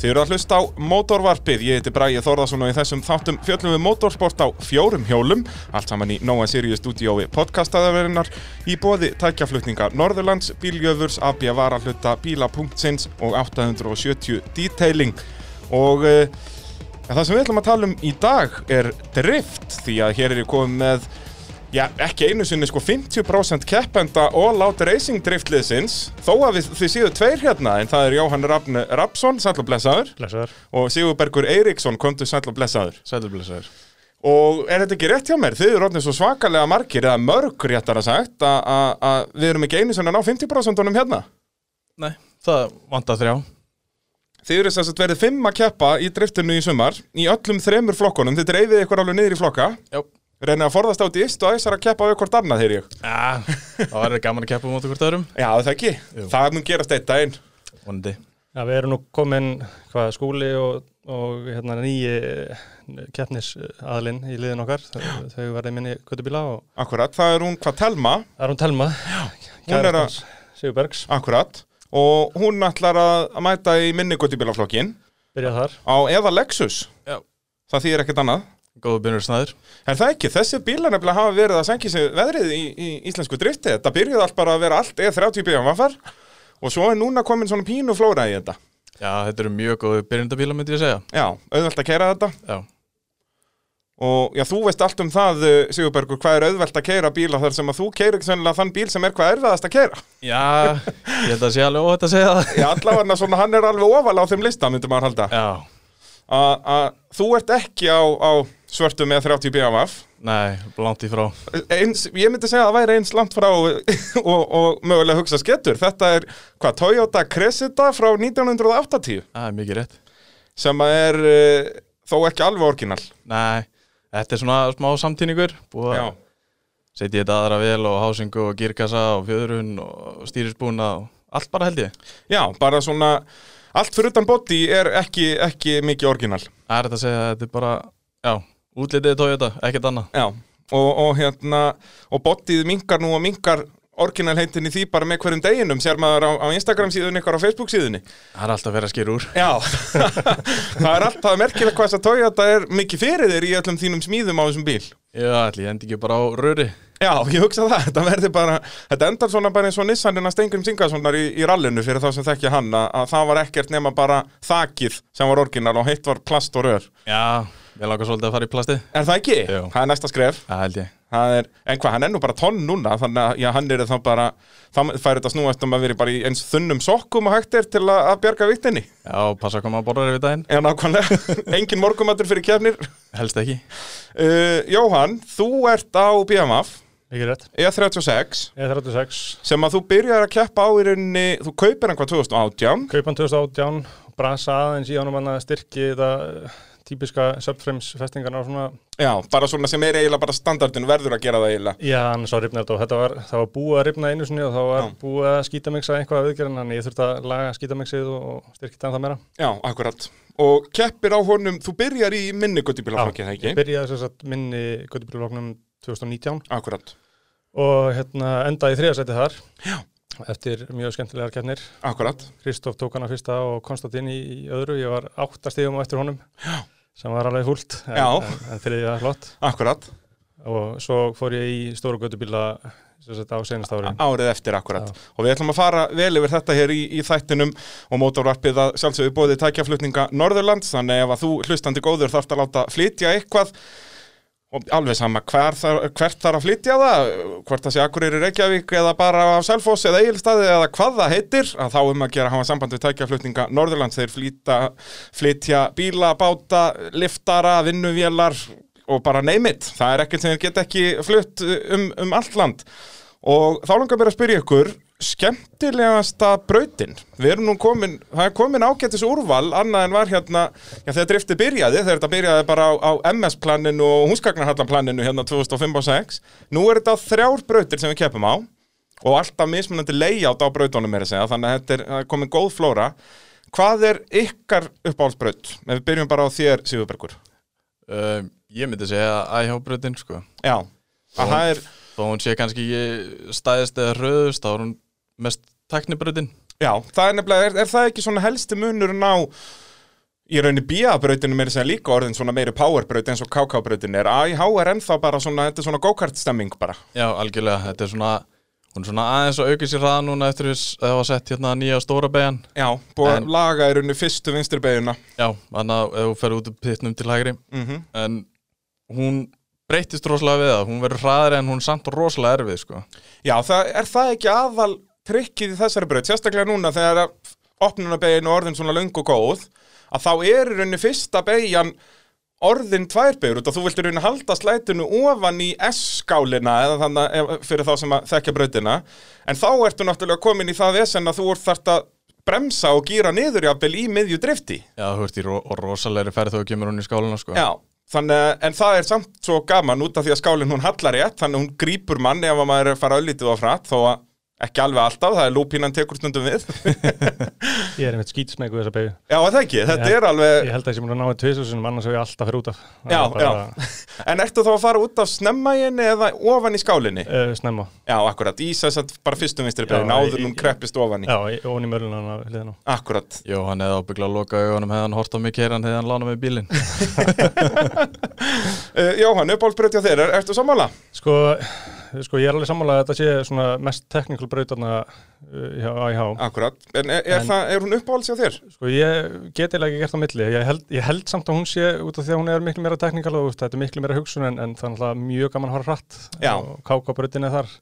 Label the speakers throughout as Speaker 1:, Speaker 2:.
Speaker 1: Þið eru að hlusta á Mótorvarpið, ég heiti Bræði Þórðarsson og í þessum þáttum fjöllum við motorsport á fjórum hjólum, allt saman í Nóa Sirius stúdíói podcastaðaverinnar, í bóði tækjaflutninga Norðurlands, Bíljöfurs, AB Varahluta, Bíla.sins og 870 Detailing. Og uh, það sem við ætlum að tala um í dag er drift, því að hér er ég komið með Já, ekki einu sinni sko 50% keppenda All Out Racing driftliðsins þó að við, þið séu tveir hérna en það er Jóhann Rafn Rapsson, sæll og blessaður
Speaker 2: Blessaður.
Speaker 1: og Sigurbergur Eiríksson, komdu sæll og blessaður
Speaker 3: Sæðurblessaður.
Speaker 1: og er þetta ekki rétt hjá mér? Þið eru orðin svo svakalega margir eða mörg réttar að sagt að- að að við erum ekki einu sinni að ná 50% hérna
Speaker 3: Nei, það vantar þrjá.
Speaker 1: Þið eru þess að verið fimm að keppa í driftinu í sumar í öllum þremur flokkunum, þið dreifið ykkur alveg niður í flokka
Speaker 3: Já.
Speaker 1: reynið að forðast át í ist og æsar að keppa við hvort annað, heyr ég
Speaker 3: Ah, það verður gaman að keppa á móti hvort öðrum.
Speaker 1: Já, er það ekki,
Speaker 3: Jú.
Speaker 1: það mun gerast eitt daginn
Speaker 3: Vonandi.
Speaker 2: Já, við erum nú komin hvað, skúli og, og hérna, nýji keppnisaðlinn eh, í liðin okkar. Þau, þau verði minni kutubíla og
Speaker 1: Akkurat, það er hún hvað Telma,
Speaker 2: það er hún Telma.
Speaker 1: Hún er að-
Speaker 2: kærastans Sigurbergs,
Speaker 1: akkurat og hún ætlar að að mæta í minni guttibílaflokkin
Speaker 2: byrjað þar.
Speaker 1: á eða Lexus,
Speaker 3: Já.
Speaker 1: það þýðir ekkert annað
Speaker 3: Góðu byrjur snæður.
Speaker 1: Er það ekki? Þessi bílar nefnilega hafa verið að sænki sig veðrið í, í íslensku drifti þetta byrjuði allt bara að vera allt eða 30 bíðan vaffar og svo er núna komin svona pínu flóra í þetta
Speaker 3: Já, þetta eru mjög góðu byrjundabíla, myndi ég segja.
Speaker 1: Já, auðvelt að kæra þetta
Speaker 3: Já.
Speaker 1: og já, þú veist allt um það eh, Sigurbergur, hvað er auðvelt að kæra bíla þar sem að þú kærir ekki sennilega þann bíl sem er hvað erfiðast að kæra
Speaker 3: Já, ég held að sé alveg óhætt að segja það.
Speaker 1: Já, allavega svona hann er alveg ofal á þeim lista myndum maður halda
Speaker 3: Já.
Speaker 1: að að þú ert ekki á, á svörtum E með 30 BMF
Speaker 3: Nei, langt í frá.
Speaker 1: eins, ég myndi segja að það væri eins langt frá og, og, og mögulega hugsa skettur þetta er hvað, Toyota Cressida frá 1980
Speaker 3: Það er mikið rétt.
Speaker 1: sem að er uh, þó ekki alveg orginal
Speaker 3: Nei, þetta er svona smá samtíningur. Búið
Speaker 1: Já,
Speaker 3: að setja þetta aðra vel og hásingu og gírkassa og fjöðrun og stýrisbúna og allt bara held ég.
Speaker 1: Já bara svona allt fyrir utan body er ekki, ekki mikið orginal
Speaker 3: Það er þetta að segja að þetta er bara, já, útlitið Toyota, ekkert annað.
Speaker 1: Já, og, og hérna og bodyð minkar nú og minkar orginal heitin í því bara með hverjum deginum sér maður á, á Instagram síðunni ykkar á Facebook síðunni
Speaker 3: Það er alltaf að vera að skýra úr.
Speaker 1: Já, það er alltaf merkilegt hvað þess að Toyota er mikið fyrir þér í öllum þínum smíðum á þessum bíl.
Speaker 3: Já, ætli, ég endi ekki bara á röri
Speaker 1: Já, ég hugsa það, þetta verður bara, þetta endar svona bara eins og Nissanin að Stengrim Singasonar í, í rallinu fyrir þá sem þekkja hann að, að það var ekkert nema bara þakið sem var orginal og heitt var plast og rör.
Speaker 3: Já, ég langar svolítið að fara í plasti
Speaker 1: Er það ekki?
Speaker 3: Jú.
Speaker 1: Það er næsta skref.
Speaker 3: Það held ég
Speaker 1: Það Er, en hvað, hann er nú bara tonn núna, þannig að já, hann er þá bara, það fær þetta snúast um að vera bara í eins þunnum sokkum og hægt er til að, að bjarga vittinni.
Speaker 3: Já, passa að koma að borða yfir daginn,
Speaker 1: Já, nákvæmlega, engin morgumatur fyrir kefnir.
Speaker 3: helst ekki
Speaker 1: Uh, Jóhann, þú ert á BMF
Speaker 2: Ekki rétt.
Speaker 1: E E36
Speaker 2: E E36,
Speaker 1: sem að þú byrjar að keppa á í rauninni, þú kaupir hann hvað 2018
Speaker 2: kaupan 2018, brasa aðeins í ánum hann að styrki þetta eh, típiska subframes festingarna og svona.
Speaker 1: Já, bara svona sem er eiginlega bara standardin verður að gera það eiginlega
Speaker 2: Já, annars var ripnað þetta og þetta var, það var búið að ripna einu sinni og þá var
Speaker 1: Já.
Speaker 2: búið að skítamiksa eitthvað að viðgerðin, þannig ég þurfti að laga skítamixið og- og styrkja þetta en það meira.
Speaker 1: Já, akkurat Og keppir á honum, þú byrjar í minni guttibílaflokki, það
Speaker 2: ég
Speaker 1: ekki?
Speaker 2: byrjaði sem sagt minni göttubílufloknum 2019
Speaker 1: Akkurat,
Speaker 2: og hérna endaði í þriðasæti þar Já. eftir mjög skemmtilegar keppnir.
Speaker 1: akkurat
Speaker 2: Kristoff tók hana fyrsta og Konstantin í, í öðru, ég var áttastíðum á eftir honum Já. sem var alveg húlt en,
Speaker 1: Já.
Speaker 2: en, en þriðið var flott
Speaker 1: Akkurat,
Speaker 2: og svo fór ég í stóru göttubíla sem sagt á senast ári.
Speaker 1: árið eftir akkurat
Speaker 2: Já.
Speaker 1: og við ætlum að fara vel yfir þetta hér í, í þættinum og mótorvarpið að sjálfsögðu bóði tækjaflutninga Norðurlands þannig ef að þú hlustandi góður þarft að láta flytja eitthvað og alveg sama hver þar, hvert þarf að flytja það hvort það sé Akureyri Reykjavík eða bara á Selfoss eða Egilstaði eða hvað það heitir að þá um að gera að hafa samband við tækjaflutninga Norðurlands þeir flýta, flytja bíla, báta, liftara, vinnuvélar og bara neymit það er ekkert sem þeir geta ekki flutt um, um allt land Og þá langar mér að spyrja ykkur, skemmtilegasta brautin? Við erum nú komin, það er komin ágættis úrval, annað en var hérna, já þegar drifti byrjaði, þegar þetta byrjaði bara á, á MS-planinu og húsgagnarhallanplaninu hérna 2005 og 6. Nú er þetta þrjár brautir sem við keppum á og alltaf mismunandi layout á brautunum er að segja, þannig að þetta er, það er komin góð flóra. Hvað er ykkar uppáhaldsbraut? Ef við byrjum bara á þér, Sigurbergur.
Speaker 3: um, Ég myndi segja IH-bröðin, sko
Speaker 1: Já, að það er,
Speaker 3: Þó hún sé kannski ekki stæðist eða röðust Þá er hún mest teknibröðin
Speaker 1: Já, það er nefnilega, er, er það ekki svona helsti munurinn á í rauninni BIA-brautinu meiri sem líka orðin svona meiri powerbraut eins og KK-brautinu er AIH er ennþá bara svona, þetta er svona go-kart stemming bara
Speaker 3: Já, algjörlega, þetta er svona hún er svona aðeins að auka sér hraða núna eftir við s- að það var sett hérna nýja stóra beigjan
Speaker 1: Já, búið
Speaker 3: En-
Speaker 1: að laga í rauninni fyrstu vinstri beiguna
Speaker 3: Já, þannig að ef þú ferð út um pittnum til hægri
Speaker 1: mm
Speaker 3: en hún breytist rosalega við það, hún verður hraðari en hún er samt rosalega erfið sko.
Speaker 1: Já, það, er það ekki aðal trikkið í þessari braut, sérstaklega núna þegar opnunarbegin er orðin svona löng og góð að þá er í rauninni fyrsta beigjan orðin tvær beigur út og þú vilt í rauninni halda slætinu ofan í S-skálina eða þannig að- ef- fyrir þá sem að þekkja brautina en þá ertu náttúrulega komin í það vesen að þú ert þart að bremsa og gýra niður jafnvel í miðju drifti
Speaker 3: Já, þú ert í ro rosalegri ferð þegar þú kemur hún í skáluna sko.
Speaker 1: Já, þannig að, en það er samt svo gaman út af því að skálinn hún hallar rétt, þannig að hún grípur mann ef að maður er að fara öllítið á frætt, þó að ekki alveg alltaf, það er lúpínan tekur stundum við.
Speaker 2: Ég er einmitt skýtsmegu þessa beigju.
Speaker 1: Já, er það ekki, þetta
Speaker 2: Já.
Speaker 1: er alveg,
Speaker 2: Ég held að ég sem búin að ná þetta tviðsúsunum, annars hef ég alltaf fyrir út af. Það
Speaker 1: Já,
Speaker 2: er bara,
Speaker 1: en ertu þá að fara út af snemmæginni eða ofan í skálinni?
Speaker 2: Uh, snemma.
Speaker 1: Já, akkurat, í þess að bara fyrstum vinstri bregðin,
Speaker 2: Já,
Speaker 1: áður
Speaker 2: í-
Speaker 1: hún kreppist ofan í.
Speaker 2: Já, ég- ofan í mörlunan að hliðan á.
Speaker 1: Akkurat.
Speaker 3: Jó, hann hefði ábyggla að loka augunum hefði hann hort á mig keiran hefði hann lánað mig bílinn
Speaker 1: Uh, Jóhann, uppáhaldsbreytja þér, er, ertu sammála?
Speaker 2: Sko, sko, ég er alveg sammála að þetta sé svona mest teknikal braut þarna uh, hjá AIH.
Speaker 1: Akkurat, en er, er,
Speaker 2: En-
Speaker 1: það, er hún uppáhaldsja þér?
Speaker 2: Sko, ég get eiginlega ekki gert á milli. Ég held, ég held samt að hún sé út af því að hún er miklu meira teknikal og þú veist, þetta er miklu meira hugsun en, en það er náttúrulega mjög gaman að horfa hratt.
Speaker 1: Já.
Speaker 2: Og káka brautinni þar.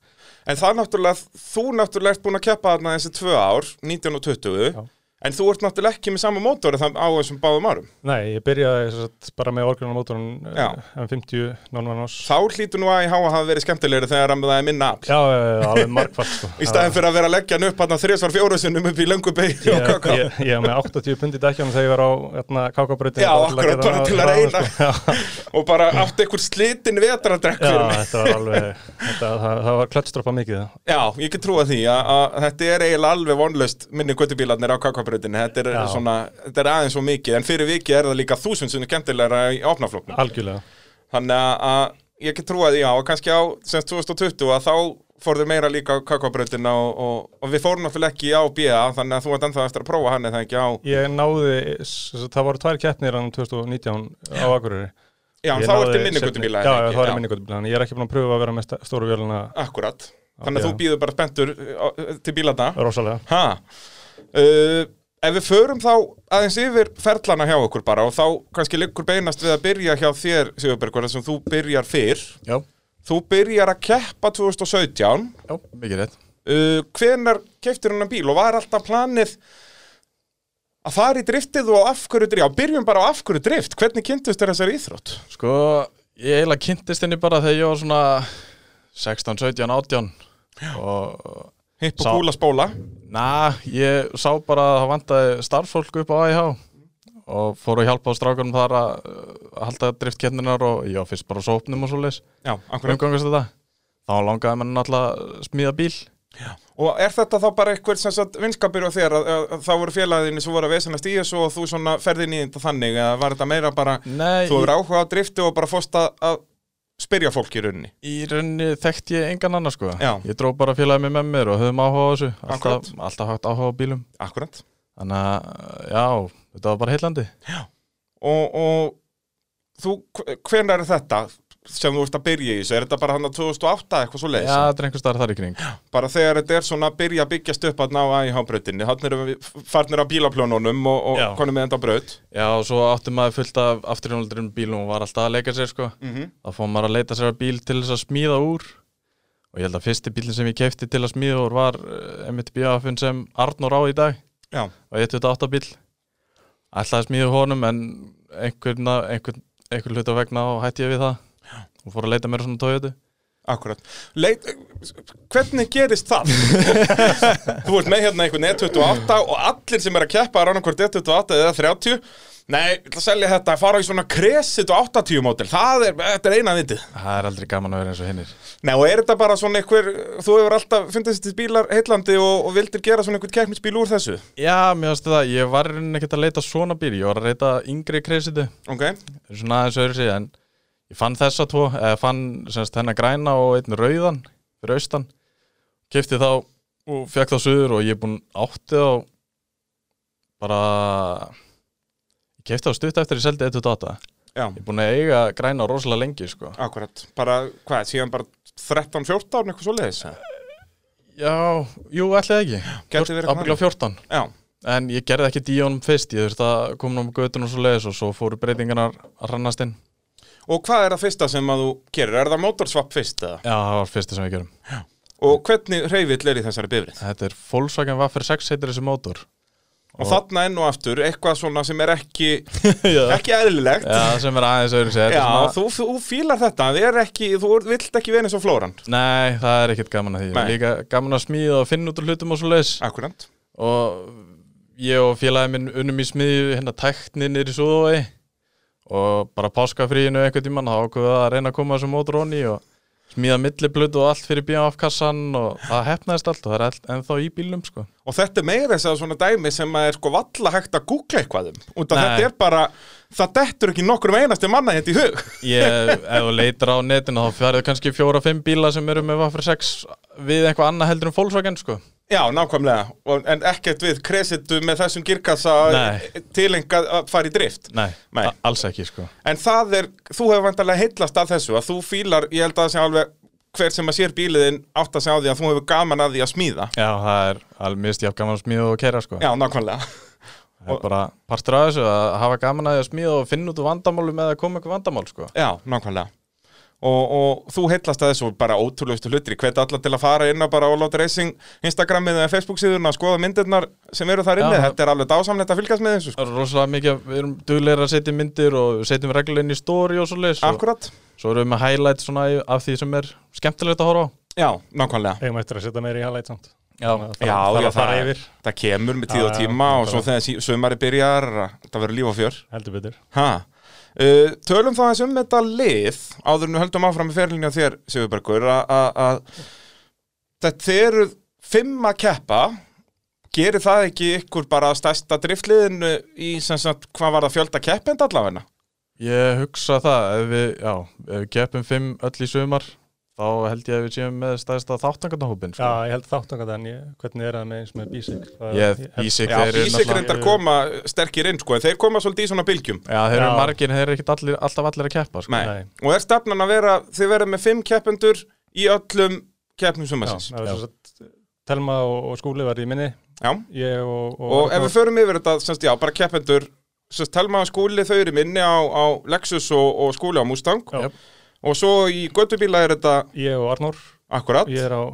Speaker 1: En það er náttúrulega, þú náttúrulega ert búin að keppa þarna þessi tvö ár, 19 og 20
Speaker 2: Já.
Speaker 1: En þú ert náttúrulega ekki með sama mótori þann á þessum báðum árum
Speaker 2: Nei, ég byrjaði sem sagt, bara með orginalmótorun
Speaker 1: Já.
Speaker 2: uh, M50 non-vanos.
Speaker 1: Þá hlýtur nú að ég hafa verið skemmtilegri þegar að það er minna afl
Speaker 2: Já, já, já, alveg markvart sko.
Speaker 1: Í staðin fyrir að vera að leggja hann upp hann þrísvar fjóruðsinnum upp í löngu beigju og
Speaker 2: Ég,
Speaker 1: kaka
Speaker 2: ég, ég var með 80 pundi dækjum þegar ég var á hérna, kákabrautin
Speaker 1: Já, akkurat, bara til að reyna.
Speaker 2: sko. Já,
Speaker 1: Og bara átti einhver slitin vetrardrekk
Speaker 2: já
Speaker 1: fyrir mig
Speaker 2: þetta var alveg þetta, það, það var klötstropa mikið það.
Speaker 1: Já, ég get trúa því að, að þetta er eiginlega alveg vonlaust minni kvötubílarnir á kakabrautinu þetta, er
Speaker 2: Já.
Speaker 1: svona, þetta er aðeins svo mikið En fyrir vikið er það líka þúsund sem er skemmtilegra í opnaflóknum
Speaker 2: algjörlega
Speaker 1: Þannig að- að ég get trúa því já og kannski á semst 2020 að þá fór þau meira líka á kakabrautina og, og, og við fórum náttúrulega ekki á BIA þannig að þú ert ennþá eftir að prófa hann eða ekki á
Speaker 2: Ég náði, s- s- það voru tvær keppnir um hann 2019 á Akureyri
Speaker 1: Já, en
Speaker 2: Ég
Speaker 1: þá
Speaker 2: náði
Speaker 1: ertu
Speaker 2: seinni-
Speaker 1: minningutubíla
Speaker 2: Já, já, það er minningutubíla, en ég er ekki búin að pröfa að vera með sta- stóru vélina
Speaker 1: Akkurat, þannig að
Speaker 2: Já.
Speaker 1: þú býður bara spenntur uh, til bílana
Speaker 2: rosalega
Speaker 1: Ha uh, Ef við förum þá aðeins yfir ferlana hjá okkur bara og þá kannski liggur beinast við að byrja hjá þér Sigurbergur þar sem þú byrjar fyrr
Speaker 3: Já,
Speaker 1: Þú byrjar að keppa 2017
Speaker 3: já, mikið rétt
Speaker 1: uh, hvenar keftir hennan bíl og var alltaf planið að fara í driftið og af hverju drift, já, byrjum bara á af hverju drift, hvernig kynntust þér þessari íþrótt?
Speaker 3: Sko, ég eiginlega kynntist henni bara þegar ég var svona 16, 17, 18 og
Speaker 1: Hipp og
Speaker 3: Sá-
Speaker 1: kúla spóla,
Speaker 3: na, ég sá bara að það vantaði starffólk upp á AIH og fór að hjálpa á strákunum þar að, að halda driftkenninar og já, fyrst bara á sópnum og svo leis
Speaker 1: já, akkurat
Speaker 3: umgangast þetta þá langaði mann náttúrulega að smíða bíl
Speaker 1: og er þetta þá bara eitthvað sem sagt vinskapir á þér að, að, að þá voru félaginni sem voru að vesanast í þessu og þú svona ferðin í þetta þannig eða var þetta meira bara,
Speaker 3: Nei,
Speaker 1: þú
Speaker 3: í,
Speaker 1: hefur áhuga á drifti og bara fórst að, að spyrja fólk í rauninni
Speaker 3: í rauninni þekkti ég engan annar sko
Speaker 1: Já.
Speaker 3: ég dró bara félagið mig með mér og höfum áhuga á þessu alltaf,
Speaker 1: Akkurat.
Speaker 3: alltaf hægt áhuga á bílum
Speaker 1: akkurat,
Speaker 3: þannig að já, þetta var bara heillandi
Speaker 1: og, og þú, hvenar er þetta sem þú ert að byrja í þessu, er þetta bara hann 2008 eitthvað svo leiðis?
Speaker 3: já, þetta er einhver starf þar í kring
Speaker 1: bara þegar þetta er svona að byrja að byggjast upp að ná AIH-brautinni, þannig erum við farnir á bílaplónunum og,
Speaker 3: Já.
Speaker 1: og konum með enda á braut
Speaker 3: já, og svo áttum maður fullt af afturjónaldurinn bílum og var alltaf að leika sér sko
Speaker 1: mm -hmm.
Speaker 3: þá fór maður að leita sér að bíl til þess að smíða úr og ég held að fyrsti bílinn sem ég kefti til að smíða úr var eh, einmitt bíafinn sem Arnór á í dag
Speaker 1: Já,
Speaker 3: og 128 bíl ætlaði að smíða honum en einhvern, einhvern, einhvern hluta vegna og hætti ég við það og fór að leita mér að svona tójötu
Speaker 1: akkurat Leit, Hvernig gerist það? þú ert með hérna einhvern E28 og allir sem er að keppa er annarkvort E28 eða 30 Nei, ég ætla að selja þetta að fara í svona kresit og 80 mótil, það er, þetta er eina vitið
Speaker 3: það er aldrei gaman að vera eins og hinnir
Speaker 1: Nei, og er þetta bara svona einhver, þú hefur alltaf fundist þessir bílar heillandi og, og vildir gera svona einhvern keppnisbíl úr þessu
Speaker 3: já, mér finnst það, ég var í rauninni ekkert að leita að svona bíl, ég var að leita að yngri kreisitu
Speaker 1: Ok,
Speaker 3: svona aðeins öðru sig en ég fann þessa tvo, eða fann semst hennar græna og einn rauðan fyrir austan, kefti þá og fekk þá suður og ég er búinn átti þá bara ég kefti á stutt eftir ég seldi 1.8
Speaker 1: Já,
Speaker 3: Ég er búin að eiga græna rosalega lengi sko
Speaker 1: akkurat, bara, hvað, síðan bara 13-14, eitthvað svo leiðis
Speaker 3: Já, jú, ætli það ekki
Speaker 1: Gæti verið eitthvað
Speaker 3: Ábyggla 14
Speaker 1: Já,
Speaker 3: En ég gerði ekki díónum fyrst Ég þurfti að koma um götun og svo leiðis og svo fóru breytingarnar að rannast inn
Speaker 1: og hvað er það fyrsta sem að þú gerir? Er það motorswap fyrst eða?
Speaker 3: Já, það var fyrsta sem við gerum
Speaker 1: Og hvernig reyfill er í þessari bifrið?
Speaker 3: Þetta er Volkswagen Waffer 6 heitir þessi mótor
Speaker 1: Og, þarna enn og aftur, eitthvað svona sem er ekki,
Speaker 3: Já,
Speaker 1: ekki eðlilegt
Speaker 3: sem er aðeins öðru sér
Speaker 1: Já, þú, þú fílar þetta, það er ekki, þú vilt ekki verið eins og Flóran
Speaker 3: Nei, það er ekkert gaman að því
Speaker 1: Nei.
Speaker 3: Líka gaman að smíða og finna út úr hlutum og svo leiðis
Speaker 1: Akkurat
Speaker 3: og ég og félagið minn unnum í smiðju hérna tækni niður í Súðavegi og bara páskafríinu einhvern tímann þá ákveða að reyna að koma þessum mótor onni og smíða milliblut og allt fyrir bíðan afkassan og það hefnaðist allt og það er allt ennþá í bílnum sko.
Speaker 1: Og þetta er meira þess að svona dæmi sem að er sko valla hægt að googla eitthvað um Út af
Speaker 3: Nei.
Speaker 1: þetta er bara, það dettur ekki nokkrum einasti manna hérna í hug
Speaker 3: Ég, ef þú leitar á netinu þá færðu kannski fjóra-fimm bíla sem eru með Vaffer 6 við eitthvað annað heldur en Volkswagen sko.
Speaker 1: Já, nákvæmlega, Og, en ekkert við kresitu með þessum girkassa
Speaker 3: Nei.
Speaker 1: tilengað að fara í drift
Speaker 3: Nei,
Speaker 1: Nei.
Speaker 3: a- alls ekki sko.
Speaker 1: En það er, þú hefur vantarlega heillast af þessu að þú fílar, ég held að það sé alveg hver sem að sér bíliðin átt að segja á því að þú hefur gaman að því að smíða
Speaker 3: Já, það er alveg mist jafn gaman að smíða og kera sko.
Speaker 1: Já, nákvæmlega
Speaker 3: Það er bara partur af þessu að hafa gaman að því að smíða og finna út úr vandamálum eða koma ykkur vandamál sko.
Speaker 1: Já, nákvæmlega og, og þú heillast að þessu bara ótrúlegustu hlutri hvet alla til að fara inn á bara All Out Racing Instagramið eða Facebook síðuna að skoða myndirnar sem eru þar inni,
Speaker 3: Já.
Speaker 1: þetta er alveg dásamlegt að fylgjast með þessu sko.
Speaker 3: Það er rosalega mikið, að- við erum duglegir að setja myndir og við setjum reglulega inn í story og svo leis og
Speaker 1: Akkurat,
Speaker 3: svo erum við með highlights svona í- af því sem er skemmtilegt að horfa á.
Speaker 1: já, nákvæmlega
Speaker 2: Eigum eftir að setja meira í highlight samt.
Speaker 3: Já,
Speaker 2: Það þarf
Speaker 1: já,
Speaker 2: að fara
Speaker 1: það,
Speaker 2: yfir.
Speaker 1: það kemur með tíð og
Speaker 2: Já, já,
Speaker 1: tíma og
Speaker 2: bara-
Speaker 1: svo þegar sí- sumari byrjar það verður líf og fjör
Speaker 2: Heldur betur.
Speaker 1: ha. Uh, Tölum þá eins um þetta lið áður en við höldum áfram í ferlinni á þér Sigurbergur að- að að- þetta þið eru fimm að keppa gerir það ekki ykkur bara stærsta driftliðinu í sem sagt hvað var það fjölda keppend allavegna?
Speaker 3: ég hugsa það, ef við, já, ef við keppum fimm öll í sumar, þá held ég að við séum með stæðsta þáttangarnahópin
Speaker 2: Já,
Speaker 3: sko.
Speaker 2: ég held þáttangat en ég, hvernig er það með eins með bísik?
Speaker 3: Ég, bísik,
Speaker 1: Já,
Speaker 3: þeir eru
Speaker 1: Ísik
Speaker 3: náttúrulega,
Speaker 1: reyndar koma sterkir inn sko en þeir koma svolítið í svona bylgjum
Speaker 3: já, þeir eru
Speaker 2: Já.
Speaker 3: margir, en þeir eru ekkert allir, alltaf allir að keppa sko.
Speaker 1: Nei.
Speaker 2: Nei.
Speaker 1: og er stefnan að vera, þið verður með fimm keppendur í öllum keppnum
Speaker 2: Já,
Speaker 1: sumasins
Speaker 2: það var svo að Telma og, og skúli var í minni.
Speaker 1: Já,
Speaker 2: Ég og... hérna
Speaker 1: og ef við förum yfir þetta semst, já, bara keppendur semst, Telma og Skúli þau eru minni á, á Lexus og, og Skúli á Mustang
Speaker 2: Já.
Speaker 1: og svo í göttubíla er þetta
Speaker 2: Ég og Arnór.
Speaker 1: akkurat,
Speaker 2: Ég er á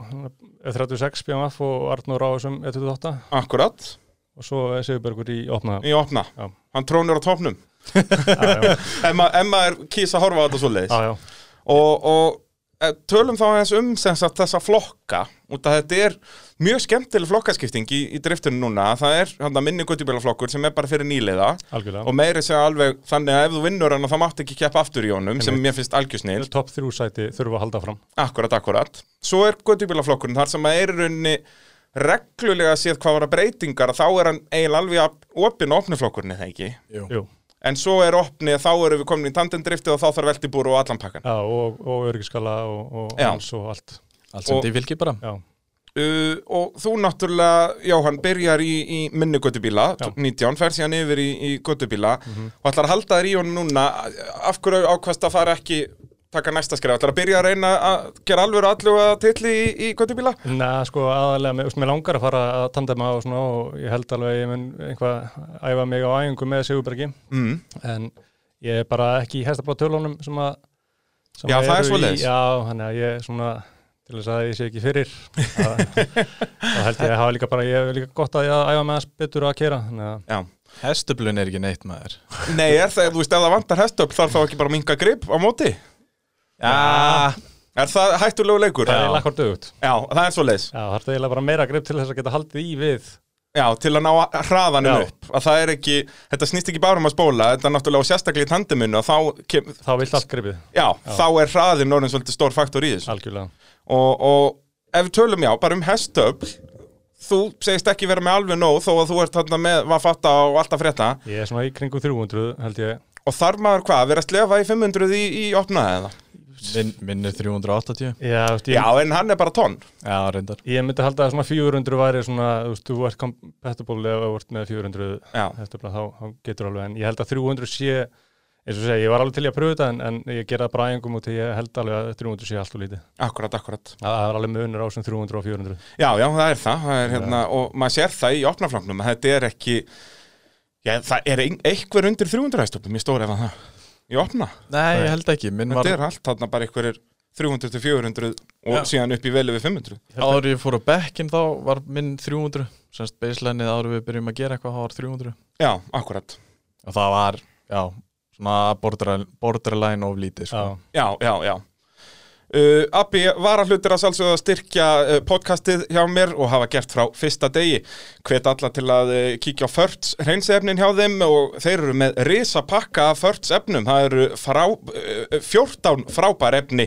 Speaker 2: 36 BMF og Arnór á þessum E 128
Speaker 1: akkurat
Speaker 2: og svo er Sigurbergur í opna.
Speaker 1: í opna,
Speaker 2: Já.
Speaker 1: hann trónur á topnum
Speaker 2: Já, já,
Speaker 1: Emma, Emma er kýs að horfa á þetta svo leiðis
Speaker 2: já, já.
Speaker 1: og, og eh, tölum þá aðeins um sem sagt, þessa flokka út að þetta er mjög skemmtileg flokkaskipting í, í driftinu núna það er hann, minni göttubílaflokkur sem er bara fyrir nýliða
Speaker 2: algjörlega.
Speaker 1: og meiri segja alveg þannig að ef þú vinnur hann þá mátt ekki keppa aftur í honum sem
Speaker 2: Einmitt.
Speaker 1: mér finnst algjörsnild
Speaker 2: topp þrjú sæti þurfa að halda fram
Speaker 1: Akkurat, akkurat. Svo er göttubílaflokkurinn þar sem að er í rauninni reglulega séð hvað var að breytingar að þá er hann eiginlega alveg að opin og opni flokkurinn eða ekki.
Speaker 3: Jú.
Speaker 2: Jú,
Speaker 1: En svo er opni að þá eru við komin í tandendriftið og þá þarf veltibúru og allan pakkan.
Speaker 2: já, og, og örgiskala og, og
Speaker 1: Já.
Speaker 2: alls og allt
Speaker 3: Allt sem
Speaker 1: Og-
Speaker 3: því fylgir bara.
Speaker 2: Já,
Speaker 1: Uh, og þú náttúrulega, Jóhann, byrjar í, í minni göttubíla,
Speaker 2: Já. Mhm.
Speaker 1: 19, fer síðan yfir í, í göttubíla og ætlar að halda þér í honum núna. Af hverju ákvæmst að fara ekki taka næsta skrif? Ætlar að byrja að reyna að gera alvöru allu að tilli í, í göttubíla?
Speaker 2: neða sko aðalega, mér, mér langar að fara að tandema og svona og ég held alveg að ég mun einhvað æfa mig á æfingu með Sigurbergi
Speaker 1: Mm.
Speaker 2: en ég er bara ekki í hestabla tölunum sem að sem
Speaker 1: Já,
Speaker 2: að
Speaker 1: það er
Speaker 2: eru
Speaker 1: svoleiðis.
Speaker 2: í- Já, þannig að ég svona til þess að ég sé ekki fyrir að- þá held ég að hafa líka bara, ég hef líka gott að ég að æfa með hans betur að kera þannig að
Speaker 1: Já.
Speaker 3: Hestublun er ekki neitt maður.
Speaker 1: Nei, er það, þú veist, ef það vantar hestöfl þarf þá ekki bara að minga grip á móti
Speaker 3: Já,
Speaker 1: Er það hættulegu leikur?
Speaker 2: það
Speaker 1: Já,
Speaker 2: er lakkar dögut
Speaker 1: það er svo leis
Speaker 2: Já, það er eiginlega bara meira grip til þess að geta haldið í við
Speaker 1: Já, til að ná að- hraðanum
Speaker 2: Já.
Speaker 1: upp að það er ekki, þetta snýst ekki bara um að spóla þetta er náttúrulega og sérstaklega í tandeminu og þá, kem, já,
Speaker 2: þá vilt allt gripið,
Speaker 1: þá er hraðin orðin svolítið stór faktor í þessu
Speaker 2: algjörlega
Speaker 1: og, og ef við tölum já, bara um hestöfl þú segist ekki vera með alveg nóg þó að þú ert þarna með vafatta og allt að frétta
Speaker 2: Ég er svona í kringum 300 held ég
Speaker 1: og þarf maður hvað, að vera að slefa í 500 í, í opnaði eða?
Speaker 3: Minn, minn er 380
Speaker 2: Já, þú veist,
Speaker 1: Já,
Speaker 2: ég,
Speaker 1: en hann er bara tonn
Speaker 3: Já, reyndar
Speaker 2: ég myndi halda að svona 400 væri svona, þú veist, þú ert compatible ef þú ert með 400
Speaker 1: Já,
Speaker 2: heftabla, þá, þá getur alveg, en ég held að 300 sé, eins og segja, ég var alveg til í að pröfa þetta en, en ég gera það bara engum út og ég held alveg að 300 sé allt og lítið.
Speaker 1: akkurat, akkurat
Speaker 2: Það það er alveg munur á sem 300 og 400.
Speaker 1: Já, já, það er það, það er, hérna, og maður sér það í opnaflangnum að þetta er ekki Já, það er ein- einhver undir 300 hæstöflum, ég stóri ef að það Í opna,
Speaker 3: Nei, ég held ekki Minn var
Speaker 1: þetta er allt, þarna bara einhverjir 300 til 400 og
Speaker 3: Já.
Speaker 1: síðan upp í velu við 500
Speaker 3: Áður ég fór á bekkin þá var minn 300 Semst baselineið áður við byrjum að gera eitthvað þá var 300
Speaker 1: Já, akkurat
Speaker 3: Og það var, já, svona borderline, borderline of lítið sko.
Speaker 2: Já.
Speaker 1: Já, já, já Uh, Abbi var að hlutir að sjálfsögðu að styrkja uh, podcastið hjá mér og hafa gert frá fyrsta degi. Hvet alla til að uh, kíkja á Förts reynsefnin hjá þeim og þeir eru með risa pakka af Förts efnum. Það eru frá, uh, 14 frábær efni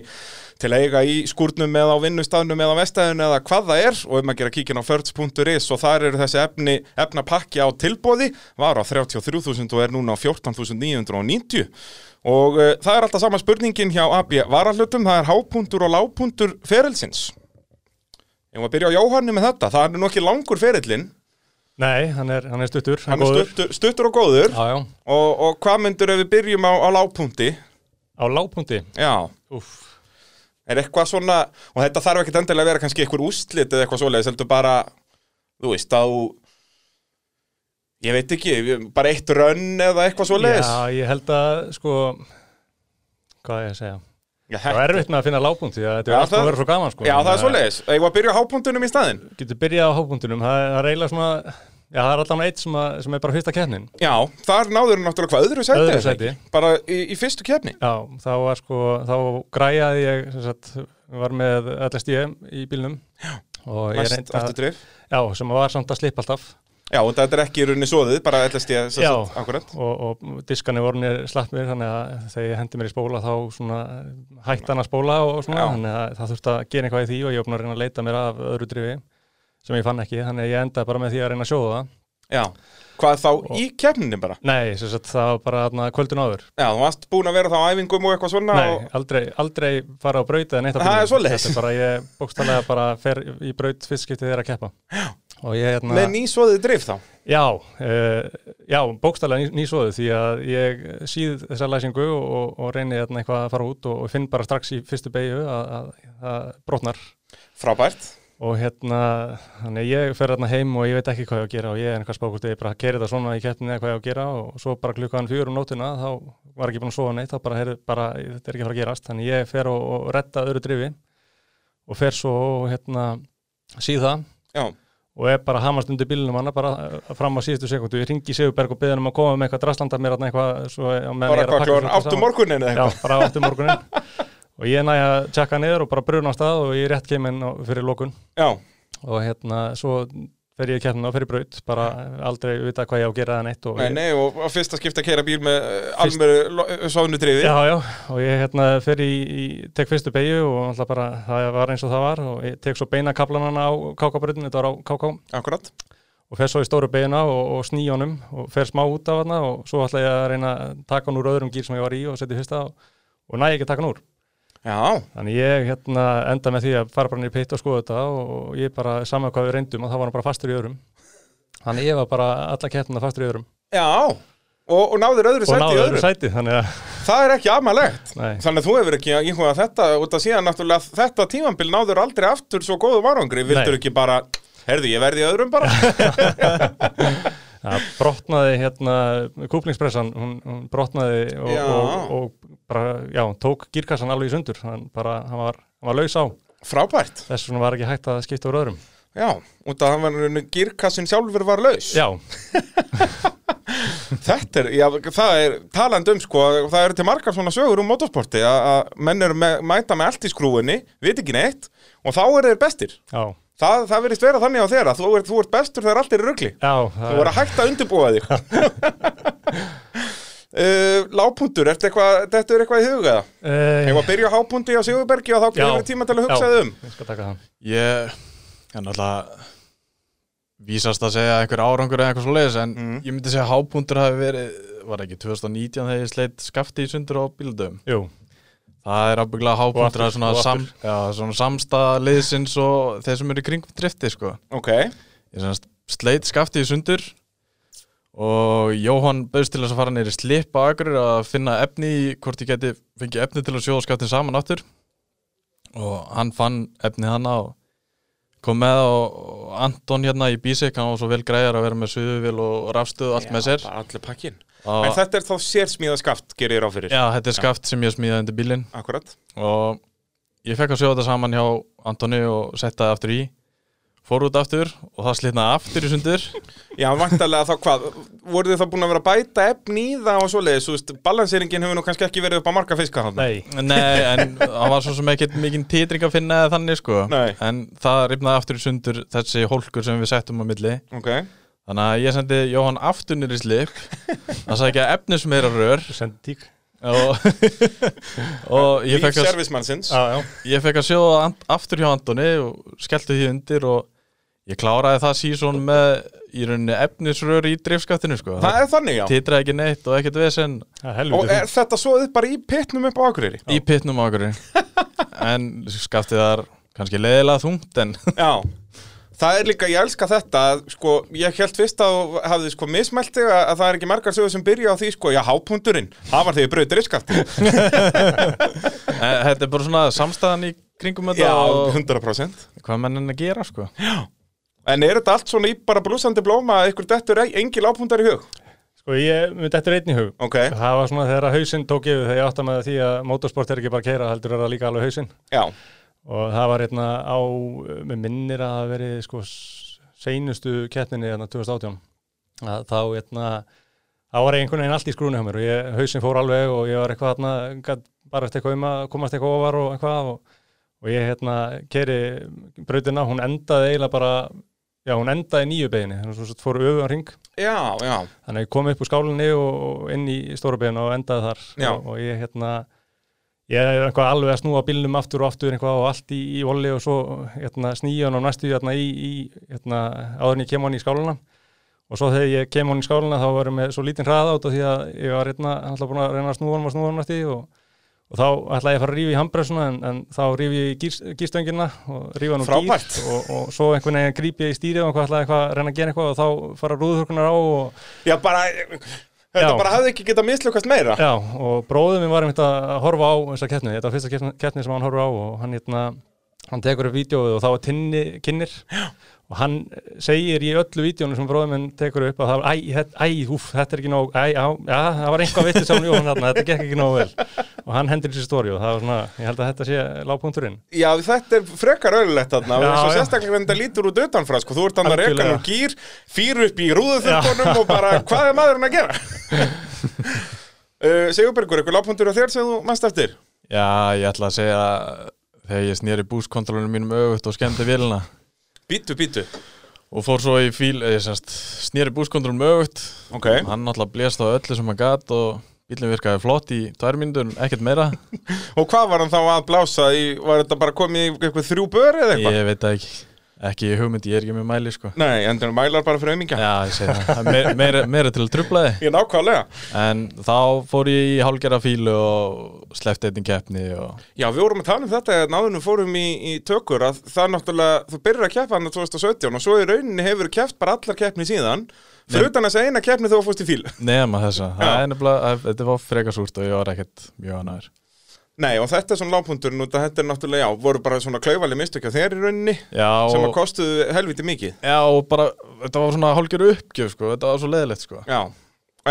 Speaker 1: til að eiga í skúrnum eða á vinnustafnum eða á vestæðinu eða hvað það er og um að gera kíkin á förts.is og þar eru þessi efni, efnapakki á tilbóði var á 33.000 og er núna á 14.990 og uh, það er alltaf sama spurningin hjá AB varahlutum, það er hápuntur og lágpuntur ferilsins Ég var að byrja á Jóhanni með þetta, það er nú ekki langur ferillin,
Speaker 2: Nei, hann er, hann er stuttur.
Speaker 1: hann er
Speaker 2: góður.
Speaker 1: stuttur, stuttur og góður
Speaker 2: Já, já.
Speaker 1: og, og hvað myndur ef við byrjum á, á lágpunti?
Speaker 2: Á lágpunkti.
Speaker 1: Já,
Speaker 2: Úff.
Speaker 1: Er eitthvað svona, og þetta þarf ekkert endilega að vera kannski einhver úslit eða eitthvað svoleiðis, heldur bara, þú veist, á, ég veit ekki, bara eitt rönn eða eitthvað svoleiðis.
Speaker 2: Já, ég held að, sko, hvað er ég að segja?
Speaker 1: Já,
Speaker 2: Það er erfitt með að finna lágpunkti, það þetta
Speaker 1: Já,
Speaker 2: er alltaf
Speaker 1: það-
Speaker 2: að vera svo gaman, sko.
Speaker 1: Já, það er svoleiðis. Ég var að byrja á hápuntunum í staðinn.
Speaker 2: Getur byrjað á hápunktunum, það er- það er eiginlega svona, já, það er alltaf eitt sem, að, sem er bara fyrsta keppnin.
Speaker 1: Já, þar náður hann náttúrulega hvað öðru sæti.
Speaker 2: Öðru
Speaker 1: er það ekki? Bara í, í fyrstu kefni.
Speaker 2: Já, þá var sko, þá græjaði ég, sem sagt, var með allast ég í bílnum. Já. Og ég
Speaker 1: Næst
Speaker 2: reynda,
Speaker 1: aftur drif.
Speaker 2: já, sem var samt að slipa alltaf
Speaker 1: Já, og þetta er ekki í rauninni svoðið, bara ætlast ég
Speaker 2: Já.
Speaker 1: að akkurat.
Speaker 2: og, og diskani voru mér slappir þannig að þegar ég hendi mér í spóla þá svona hætti hann að spóla og svona
Speaker 1: Já.
Speaker 2: þannig að það þurfti að gera eitthvað í því og ég opna að reyna að leita mér af öðru drifi sem ég fann ekki, þannig að ég endaði bara með því að reyna að sjóða það.
Speaker 1: Já, hvað þá í kefninni bara?
Speaker 2: Nei, sem sagt það var bara þarna kvöldun áður.
Speaker 1: Já, þú varst búin að vera þá á æfingum og eitthvað svona
Speaker 2: Nei,
Speaker 1: og...
Speaker 2: aldrei, aldrei fara á braut eða neitt á
Speaker 1: Það er
Speaker 2: bílnum.
Speaker 1: svoleiðis.
Speaker 2: Þetta er bara, ég bókstallega bara fer í braut fyrst skiptið þegar að keppa. Já. Og ég hérna...
Speaker 1: Með nýsvoðið drif þá?
Speaker 2: Já, uh, já bókstallega ný, nýsóðu því að ég síð þessa læsingu og, og reyni hérna eitthvað að fara út og, og finn bara strax í fyrstu beigju að, að, að brotnar
Speaker 1: Frábært.
Speaker 2: og hérna, þannig að ég fer hérna heim og ég veit ekki hvað ég á að gera og ég er einhvers bókust ég bara keri það svona í keppinni eða hvað ég á að gera og svo bara klukkan fjögur um nótina þá var ekki búin að sofa neitt, þá bara, heyrðu, bara þetta er ekki að fara að gerast, þannig ég fer og, og retta öðru drifi og fer svo og hérna síð það
Speaker 1: Já.
Speaker 2: og er bara hamast undir bílunum hann bara eh, fram á síðustu sekundu, ég ringi Sigurberg og beðan um að koma með eitthvað draslanda mér þarna eitthvað svo á meðan
Speaker 1: bara
Speaker 2: ég er að
Speaker 1: hvað
Speaker 2: pakka
Speaker 1: kljóðan
Speaker 2: þetta
Speaker 1: áttu
Speaker 2: saman.
Speaker 1: morgunin eða
Speaker 2: Já,
Speaker 1: eitthvað
Speaker 2: bara áttu morgunin og ég næja að tjekka niður og bara bruna á stað og ég er rétt keminn á- fyrir lokun
Speaker 1: já,
Speaker 2: og hérna svo fer ég keppnin á fyrir braut bara aldrei vita hvað ég á að gera eða neitt og
Speaker 1: nei,
Speaker 2: ég,
Speaker 1: nei, og, og fyrst að skipta að keira bíl með uh, almöru sáðinu drifi
Speaker 2: Já, já, og ég hérna fer í, í tek fyrstu beigju og alltaf bara það var eins og það var og ég tek svo beina kaplanana á kákabrutinu, þetta var á káká
Speaker 1: akkurat,
Speaker 2: og fer svo í stóru beina og, og sný honum og fer smá út af hana og svo ætla ég að reyna að taka hann úr öðrum gýr sem ég var í og setja í fyrsta og, og næ ekki að taka hann úr.
Speaker 1: já,
Speaker 2: Þannig ég hérna enda með því að fara bara niður í pitt og skoða þetta og ég bara saman hvað við reyndum og þá var hann bara fastur í öðrum. Þannig ég var bara alla kettina fastur í öðrum
Speaker 1: já og, og náður öðru
Speaker 2: og
Speaker 1: sæti í
Speaker 2: náði
Speaker 1: öðru
Speaker 2: öðru sæti þannig að,
Speaker 1: það er ekki amalegt
Speaker 2: nei,
Speaker 1: þannig að þú hefur ekki íhugað þetta út að síðan náttúrulega þetta tímambil náður aldrei aftur svo góðu varangri, vildur
Speaker 2: Nei.
Speaker 1: ekki bara herðu, ég verði í öðrum bara
Speaker 2: það brotnaði hérna kúplingspressan, hún, hún brotnaði og,
Speaker 1: Já.
Speaker 2: og, og, bara, já, tók gýrkassan alveg í sundur, hann bara, hann var, hann var laus á,
Speaker 1: frábært,
Speaker 2: þess vegna var ekki hægt að skipta úr öðrum.
Speaker 1: já, út að hann var gírkassin sjálfur var laus
Speaker 2: Já,
Speaker 1: Þetta er, já, það er talandi um sko, það eru til margar svona sögur um motorsporti að að menn eru með, mæta með allt í skrúinni, vit ekki neitt og þá eru þeir bestir.
Speaker 2: já.
Speaker 1: Það, það verðist vera þannig á þeirra, þú, er, þú ert bestur þegar allt er í rugli.
Speaker 2: Já,
Speaker 1: Þú
Speaker 2: það
Speaker 1: voru
Speaker 2: er,
Speaker 1: að hægt að undirbúa þig. uh, lágpuntur, ertu eitthvað, þetta er eitthvað í hugaða?
Speaker 2: uh,
Speaker 1: Ég var að byrja á hápundi á Sigurbergi og þá
Speaker 2: Já.
Speaker 1: gefur tíma til að hugsa
Speaker 2: Já.
Speaker 1: þig um.
Speaker 2: ég skal taka það.
Speaker 3: Ég, ég náttúrulega vísast að segja einhver árangur eða eitthvað svo leiðis en
Speaker 1: Mhm.
Speaker 3: ég myndi segja hábúndur hafi verið var ekki 2019 þegar ég sleitt skafti í sundur á bíldum
Speaker 2: Jú,
Speaker 3: Það er ábygglega
Speaker 2: Og
Speaker 3: hápunktur að
Speaker 2: aftur,
Speaker 3: svona,
Speaker 2: og
Speaker 3: sam, já, svona samstaða liðsins og þeir sem eru í kringum drifti sko.
Speaker 1: Ok,
Speaker 3: Ég sem sagt sleit skafti í sundur og Jóhann bauðst til þess að fara neyri slip á akkur að finna efni í hvort ég geti fengið efni til að sjóða skaftin saman áttur og hann fann efni hana og kom með og og Anton hérna í bísik hann var svo vel græjar að vera með suðuvel og rafstöð allt með sér
Speaker 1: bara allir pakkin
Speaker 3: og,
Speaker 1: En þetta er þá sérsmíða skaft, gerir ég ráð fyrir
Speaker 3: Já, þetta er skaft sem ég smíðaði undir bílinn
Speaker 1: Akkurat
Speaker 3: og ég fekk að sjóða þetta saman hjá Antoni og setta það aftur í fór út aftur og það slitnaði aftur í sundur
Speaker 1: Já, vantarlega þá hvað, voruð þið þá búin að vera að bæta efni í það og svoleiðis, þú veist, balanseringin hefur nú kannski ekki verið upp á marga fiska þarna.
Speaker 2: Nei,
Speaker 3: Nei, en það var svo sem ekkert mikinn titring að finna eða þannig sko
Speaker 1: Nei.
Speaker 3: en það rifnaði aftur í sundur þessi hólkur sem við settum á milli
Speaker 1: Ok,
Speaker 3: þannig að ég sendi Jóhann aftur niður í slip það sagði ekki að efnis meira rör
Speaker 2: sendi tík
Speaker 3: og, og ég
Speaker 1: líf
Speaker 3: fekk að
Speaker 1: servismannsins.
Speaker 2: Já, já,
Speaker 3: ég fekk að sjóða ant- aftur hjá Antoni og skellti því undir og ég kláraði það síðan með í rauninni efnisrör í drifskattinu sko.
Speaker 1: Það er þannig, já.
Speaker 3: titraði ekki neitt og ekkert vesen
Speaker 2: það er
Speaker 1: Og
Speaker 2: helviti
Speaker 1: er þetta svoðið bara í pitnum upp á Akureyri?
Speaker 3: í pitnum ákvörði en skaftið þar kannski leiðilega þungt en
Speaker 1: Já, það er líka, ég elska þetta að, sko, ég held fyrst að þú hafði sko mismælt þig að, að það er ekki margar sögur sem byrja á því sko, já, hápundurinn, það var þegar brautir iskafti
Speaker 3: en Eh, þetta er bara svona samstæðan í kringum þetta
Speaker 1: Já,
Speaker 3: og
Speaker 1: 100%
Speaker 3: hvað mennin að gera sko
Speaker 1: En er þetta allt svona í bara blúsandi blóma að ykkur dettur e- engil ápundar í hug?
Speaker 2: Sko ég, mér þetta er einn í hug
Speaker 1: Ok,
Speaker 2: Það var svona þegar að hausinn tók yfir þegar ég átta með því að motorsport er ekki bara að keira heldur er það líka alveg hausinn
Speaker 1: já,
Speaker 2: og það var hérna á, með minnir að það verið sko s- seinustu keppninni hérna 2018 að þá hérna þá var einhvern veginn allt í skrúnu hjá mér og ég, hausinn fór alveg og ég var eitthvað hérna gat bara eftir eitthvað um að komast eitthvað ofar og eitthvað og, og ég hérna keri brautina, hún endaði eiginlega bara já, hún endaði í nýju beginni þannig að fór öfugan ring
Speaker 1: já, já
Speaker 2: Þannig að ég kom upp úr skálinni og og inn í Stórabeginu og endaði þar
Speaker 1: Já.
Speaker 2: og, og ég hérna ég er eitthvað alveg að snúa bílnum aftur og aftur eitthvað og allt í, í voli og svo hérna, snýjan og næstu hérna, í, í hérna, áður en ég kem hann í skálina og svo þegar ég kem hann í skálina þá varum við svo lítinn hraða át og því að ég var hérna, alltaf búin að reyna að snúa hann og snúa hann næstu og, og þá ætlaði ég að fara að rífa í handbremsuna en, en þá rífi ég í gírs, gírstöngina og rífa hann úr gír
Speaker 1: Frábært.
Speaker 2: og, og svo einhvern veginn gríp ég í stýrið og eitthvað, ætlaði eitthvað að reyna að gera eitthvað og þá fara rúðurkurnar á og
Speaker 1: Já, bara, þetta
Speaker 2: Já.
Speaker 1: bara hafði ekki getað mislukast meira
Speaker 2: Já, og bróðum minn var einmitt að horfa á þessa keppni, þetta var fyrsta keppni- keppni sem hann horfa á og hann, hérna, hann tekur upp vídjóið og þá var tinni kynir Já. og hann segir í öllu vídjónu sem bróðum minn tekur upp að það var, æ, þetta, æ, úf, þetta er ekki nóg, æ, já, já, það var einhvað vitið saman Jóhann þarna, þetta gekk ekki nóg vel og hann hendur þessi stóri og það var svona, ég held að þetta sé lágpunturinn.
Speaker 1: Já, þetta er frekar öllulegt þarna og
Speaker 2: Já,
Speaker 1: eins og
Speaker 2: já.
Speaker 1: sérstaklega hvernig þetta lítur út utanfra sko, þú ert hann að reka
Speaker 2: Algjörlega.
Speaker 1: nú gýr, fýr upp í rúðuþurftunum og bara, hvað er maðurinn að gera? uh, Sigurbergur, eitthvað lágpuntur á þér sem þú mannst eftir?
Speaker 3: já, ég ætla að segja þegar ég snýri búskontrolunum mínum auðvitað og skemmdi vélina
Speaker 1: Bítu, bítu
Speaker 3: og fór svo í fíl eh, semst, snýri búskontrolunum auðvitað
Speaker 1: Ok,
Speaker 3: hann náttúrulega blést á öllu sem hann gat og bílinn virkaði flott í tvær mínútur ekkert meira,
Speaker 1: og hvað var hann þá að blása í, var þetta bara komið í eitthvað þrjú bör eða eitthvað?
Speaker 3: ég veit það ekki ekki í hugmynd, ég er ekki með mæli sko
Speaker 1: Nei, endur mælar bara fyrir aumingja
Speaker 3: já, ég segi það, Það er meira, meira, meira til að trublaði
Speaker 1: Ég nákvæmlega
Speaker 3: en þá fór ég í hálgera fílu og sleppti einnig keppni og
Speaker 1: Já, við vorum að tala um þetta að náðunum fórum í, í tökur að það er náttúrulega, þú byrjar að keppa hann 2017 og svo í rauninni hefur keppt bara allar keppni síðan fyrir utan þess að eina keppni þú fórst í fíl
Speaker 3: nema þessa, það
Speaker 1: Já.
Speaker 3: er nefnilega að- þetta var freka súrt og ég var ekkert mjög annar
Speaker 1: Nei, og þetta er svona lágpunturinn út að þetta er náttúrulega, já, voru bara svona klaufali mistökja þeir í rauninni
Speaker 3: já,
Speaker 1: sem að
Speaker 3: og,
Speaker 1: kostuðu helviti mikið
Speaker 3: já, og bara þetta var svona hálgera uppgjöf sko, þetta var svo leðilegt sko
Speaker 1: Já,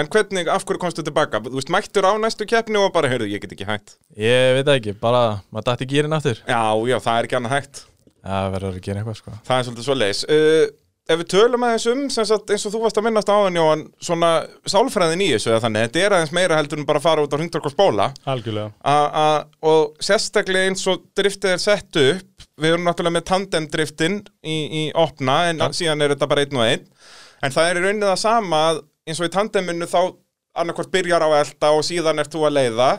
Speaker 1: en hvernig, af hverju komstu tilbaka? Þú veist, mættur á næstu keppni og bara, heyrðu, ég get ekki hægt
Speaker 3: ég veit það ekki, bara maður dætti gýrin aftur
Speaker 1: Já, já, það er ekki annað hægt
Speaker 3: það verður að gera eitthvað sko
Speaker 1: Það er svolítið svo leis uh, Ef við tölum aðeins um, sem sagt, eins og þú varst að minnast áðan, Jóhann, svona sálfræðin í þessu, eða þannig, þetta er aðeins meira heldur en bara að fara út á hringdork og spóla
Speaker 2: Algjörlega.
Speaker 1: a, a, og sérstaklega eins og driftið er sett upp, við erum náttúrulega með tandemdriftin í, í opna, en síðan er þetta bara einn og einn, en það er í rauninni það sama að eins og í tandeminu þá annarkvort byrjar á elda og síðan ert þú að leiða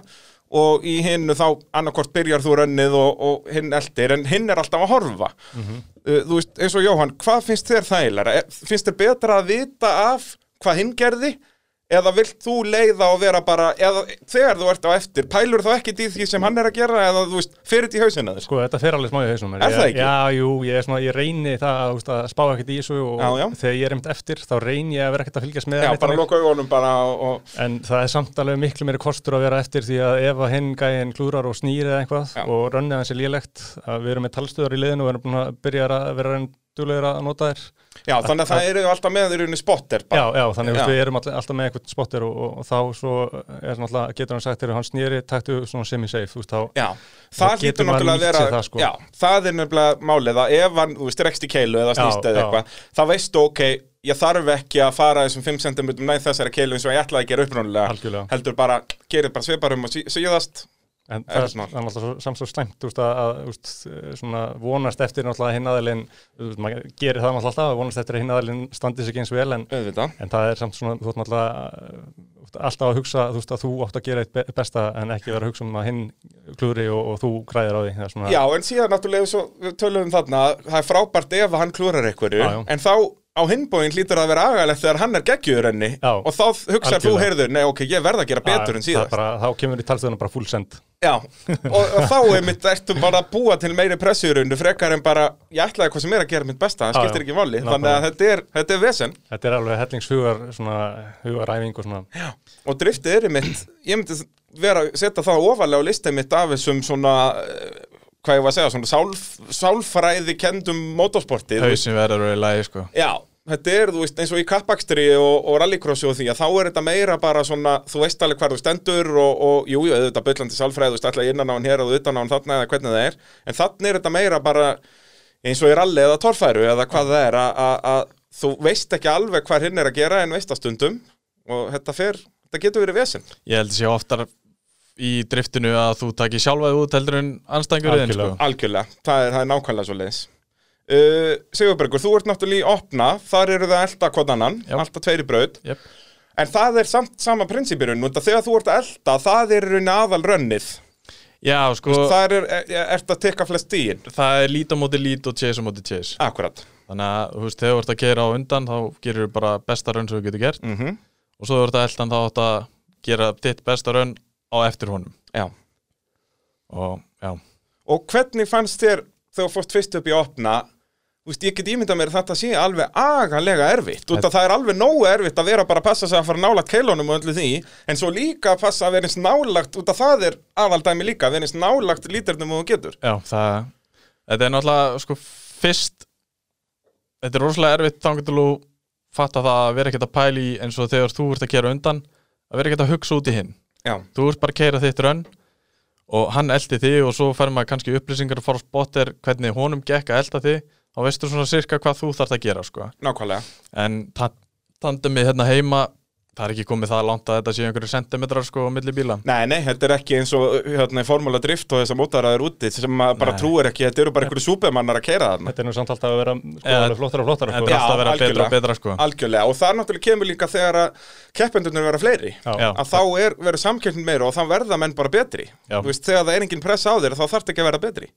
Speaker 1: og í hinnu þá annarkvort byrjar þú rönnið og, og hinn eldir en hinn er alltaf að horfa uh, þú veist, Eh, eins og Jóhann, hvað finnst þér þægilega? Finnst þér betra að vita af hvað hinn gerði eða vilt þú leiða og vera bara eða þegar þú ert á eftir, pælur þá ekki í því sem hann er að gera eða þú veist, fyrir þetta í hausinn að þér sko.
Speaker 2: Sko, þetta fer alveg smá í hausnum mér.
Speaker 1: Er það
Speaker 2: Ég-
Speaker 1: ekki?
Speaker 2: Já, jú, ég, er svona, ég reyni það að, þú veist, að spá ekkert í þessu og
Speaker 1: Já, já.
Speaker 2: þegar ég er einmitt eftir þá reyni ég að vera ekkert að fylgjast með
Speaker 1: Já,
Speaker 2: neitt
Speaker 1: bara
Speaker 2: þannig.
Speaker 1: loka augunum bara og,
Speaker 2: En það er samt alveg miklu meiri kostur að vera eftir því að ef að hinn gæinn klúrar og snýri eða eitthvað
Speaker 1: Já.
Speaker 2: og rönnið hans er lélegt að við erum með talstöðar í liðinu og erum búin að byrja að vera enn duglegir að nota þér.
Speaker 1: og já, þannig að það eru alltaf með þeir unni spotter
Speaker 2: Já,
Speaker 1: bara.
Speaker 2: já, þannig
Speaker 1: Já.
Speaker 2: að við erum all, alltaf með eitthvað spotter og, og, og þá svo er náttúrulega, getur hann sagt þegar hann snýri, taktu svona semi-safe, þú veist, þá,
Speaker 1: Já,
Speaker 2: Þá
Speaker 1: það
Speaker 2: getur
Speaker 1: hlýtur
Speaker 2: maður
Speaker 1: náttúrulega að
Speaker 2: nýtt
Speaker 1: vera
Speaker 2: sér það, sko.
Speaker 1: Já, það er nefnilega málið að ef hann, þú veist, rekst í keilu eða snýst
Speaker 2: Já,
Speaker 1: eða
Speaker 2: já.
Speaker 1: eitthvað þá veistu, ok, ég þarf ekki að fara þessum 5 cm næð þessari keilu eins og ég ætlaði að gera upprónulega
Speaker 2: algjörlega.
Speaker 1: heldur bara, gerið bara sviparum og sí- síðast
Speaker 2: En
Speaker 1: Er það
Speaker 2: það er
Speaker 1: svona?
Speaker 2: það er náttúrulega svo- samt svo slæmt þú veist, að, að þú veist, svona, vonast eftir náttúrulega að hinn aðeilinn, þú veist, maður gerir það náttúrulega alltaf, vonast eftir að hinn aðeilinn standi sig eins vel en,
Speaker 1: auðvitað
Speaker 2: en það er samt svona, þú veist náttúrulega uh, þú veist, alltaf að hugsa þú veist, að þú átt að gera eitt be- besta en ekki vera að hugsa um að hinn klúri og, og þú græðir á því. það er Svona,
Speaker 1: Já, en síðan náttúrulega svo við tölum um þarna að það er frábært ef að hann klúrar einhverju
Speaker 2: Já, já.
Speaker 1: en þá á hinbóin hlýtur það að vera agalegt þegar hann er geggjur henni
Speaker 2: Já.
Speaker 1: og þá hugsar þú,
Speaker 2: Algjörlega.
Speaker 1: heyrðu, nei ok, ég verð að gera
Speaker 2: Það-
Speaker 1: betur en
Speaker 2: það er
Speaker 1: síðast
Speaker 2: Bara, þá kemur í talstöðunum bara full send.
Speaker 1: Já, og, og þá er mitt ertu bara að búa til meiri pressurundu frekar en bara, ég ætlaði hvað sem er að gera mitt besta það
Speaker 2: Já,
Speaker 1: skiptir
Speaker 2: já.
Speaker 1: ekki máli,
Speaker 2: Nákvæmlega.
Speaker 1: þannig að þetta er, þetta er vesen
Speaker 2: Þetta er alveg hellingshugar, svona, hugaræfing og svona.
Speaker 1: og driftið er í mitt, ég myndi vera að setja það ofalega á listið mitt af þessum svona, eh, hvað ég var að segja svona sálf, sálfræði kendum motorsporti, þú veist.
Speaker 3: Hauðsinn verður í lagi sko
Speaker 1: Já, þetta er, þú veist, eins og í kappakstri og, og rallycrossi og því að þá er þetta meira bara svona, þú veist alveg hvar þú stendur og, og jú, jú, auðvitað byllandi sálfræði, þú veist alltaf innan á hann hér og utan á hann þarna eða hvernig það er en þannig er þetta meira bara eins og í rally eða torfæru eða hvað það er að- að að þú veist ekki alveg hvað hinn er að gera en veist að stundum og þetta fer, þetta getur verið vesinn
Speaker 3: Ég held að sé oftar í driftinu að þú takir sjálfaði út heldur en anstængurinn sko
Speaker 2: Algjörlega.
Speaker 1: Algjörlega, það er, það er nákvæmlega svo leiðis uh, Sigurbergur, þú ert náttúrulega í opna, þar eru það elda hvort annan,
Speaker 3: Já.
Speaker 1: alltaf tveiri braut
Speaker 3: Jep.
Speaker 1: En það er samt sama prinsipirun og þegar þú ert að elda, það er í rauninni aðal rönnið
Speaker 3: Já sko, það...
Speaker 1: Það er, er, ert að tekka flest stíin
Speaker 3: er lít á móti lít og chase á móti chase
Speaker 1: Akkurat
Speaker 3: Þannig að þú veist, þegar þú ert að keira á undan þá gerir þú bara besta raun sem þú getur gert
Speaker 1: mm
Speaker 3: og svo þú ert að eldan þá átt að gera þitt besta raun á eftir honum
Speaker 1: Já.
Speaker 3: og já,
Speaker 1: Og hvernig fannst þér þegar þú fórst fyrst upp í opna Þú veist, ég get ímyndað mér að þetta sé alveg agalega erfitt út að það er alveg nógu erfitt að vera bara að passa sig að fara nálagt keilunum og öllu því en svo líka að passa að vera eins nálagt út að það er aðaldæmi líka að vera eins nálagt líternum og þú getur
Speaker 3: já það, þetta er náttúrulega sko fyrst þetta er rosalega erfitt þangar til þú fatta það að vera ekkert að pæla í eins og þegar þú ert að kera undan að vera ekkert að hugsa út í hinn
Speaker 1: Já,
Speaker 3: þú ert bara að keira þitt raun og hann eldi þig og svo fer maður kannski upplýsingar og fara á spotter hvernig honum gekk að elda þig þá veistu svona sirka hvað þú þarft að gera sko.
Speaker 1: nákvæmlega
Speaker 3: en tandemið hérna heima það er ekki komið það langt að þetta séu einhverju sentimetrar sko á milli bíla
Speaker 1: Nei, nei, þetta er ekki eins og hérna, formúla drift og þess að mótaraður úti sem maður bara
Speaker 3: Nei.
Speaker 1: trúir ekki, þetta eru bara einhverju súpermannar að keira þarna
Speaker 2: Þetta er nú samt alltaf að vera sko,
Speaker 3: Eða-
Speaker 2: alveg flottar og flottar.
Speaker 3: þetta er alltaf að vera betra
Speaker 1: algjörlega.
Speaker 3: og betra sko
Speaker 1: Algjörlega, og það er náttúrulega kemur líka þegar að keppendurnir vera fleiri
Speaker 3: Já.
Speaker 1: að þá er, verður samkeppnin meira og þá verða menn bara betri
Speaker 3: Já.
Speaker 1: Þú veist, þegar það er engin pressa á þér þá þarf ekki að vera betri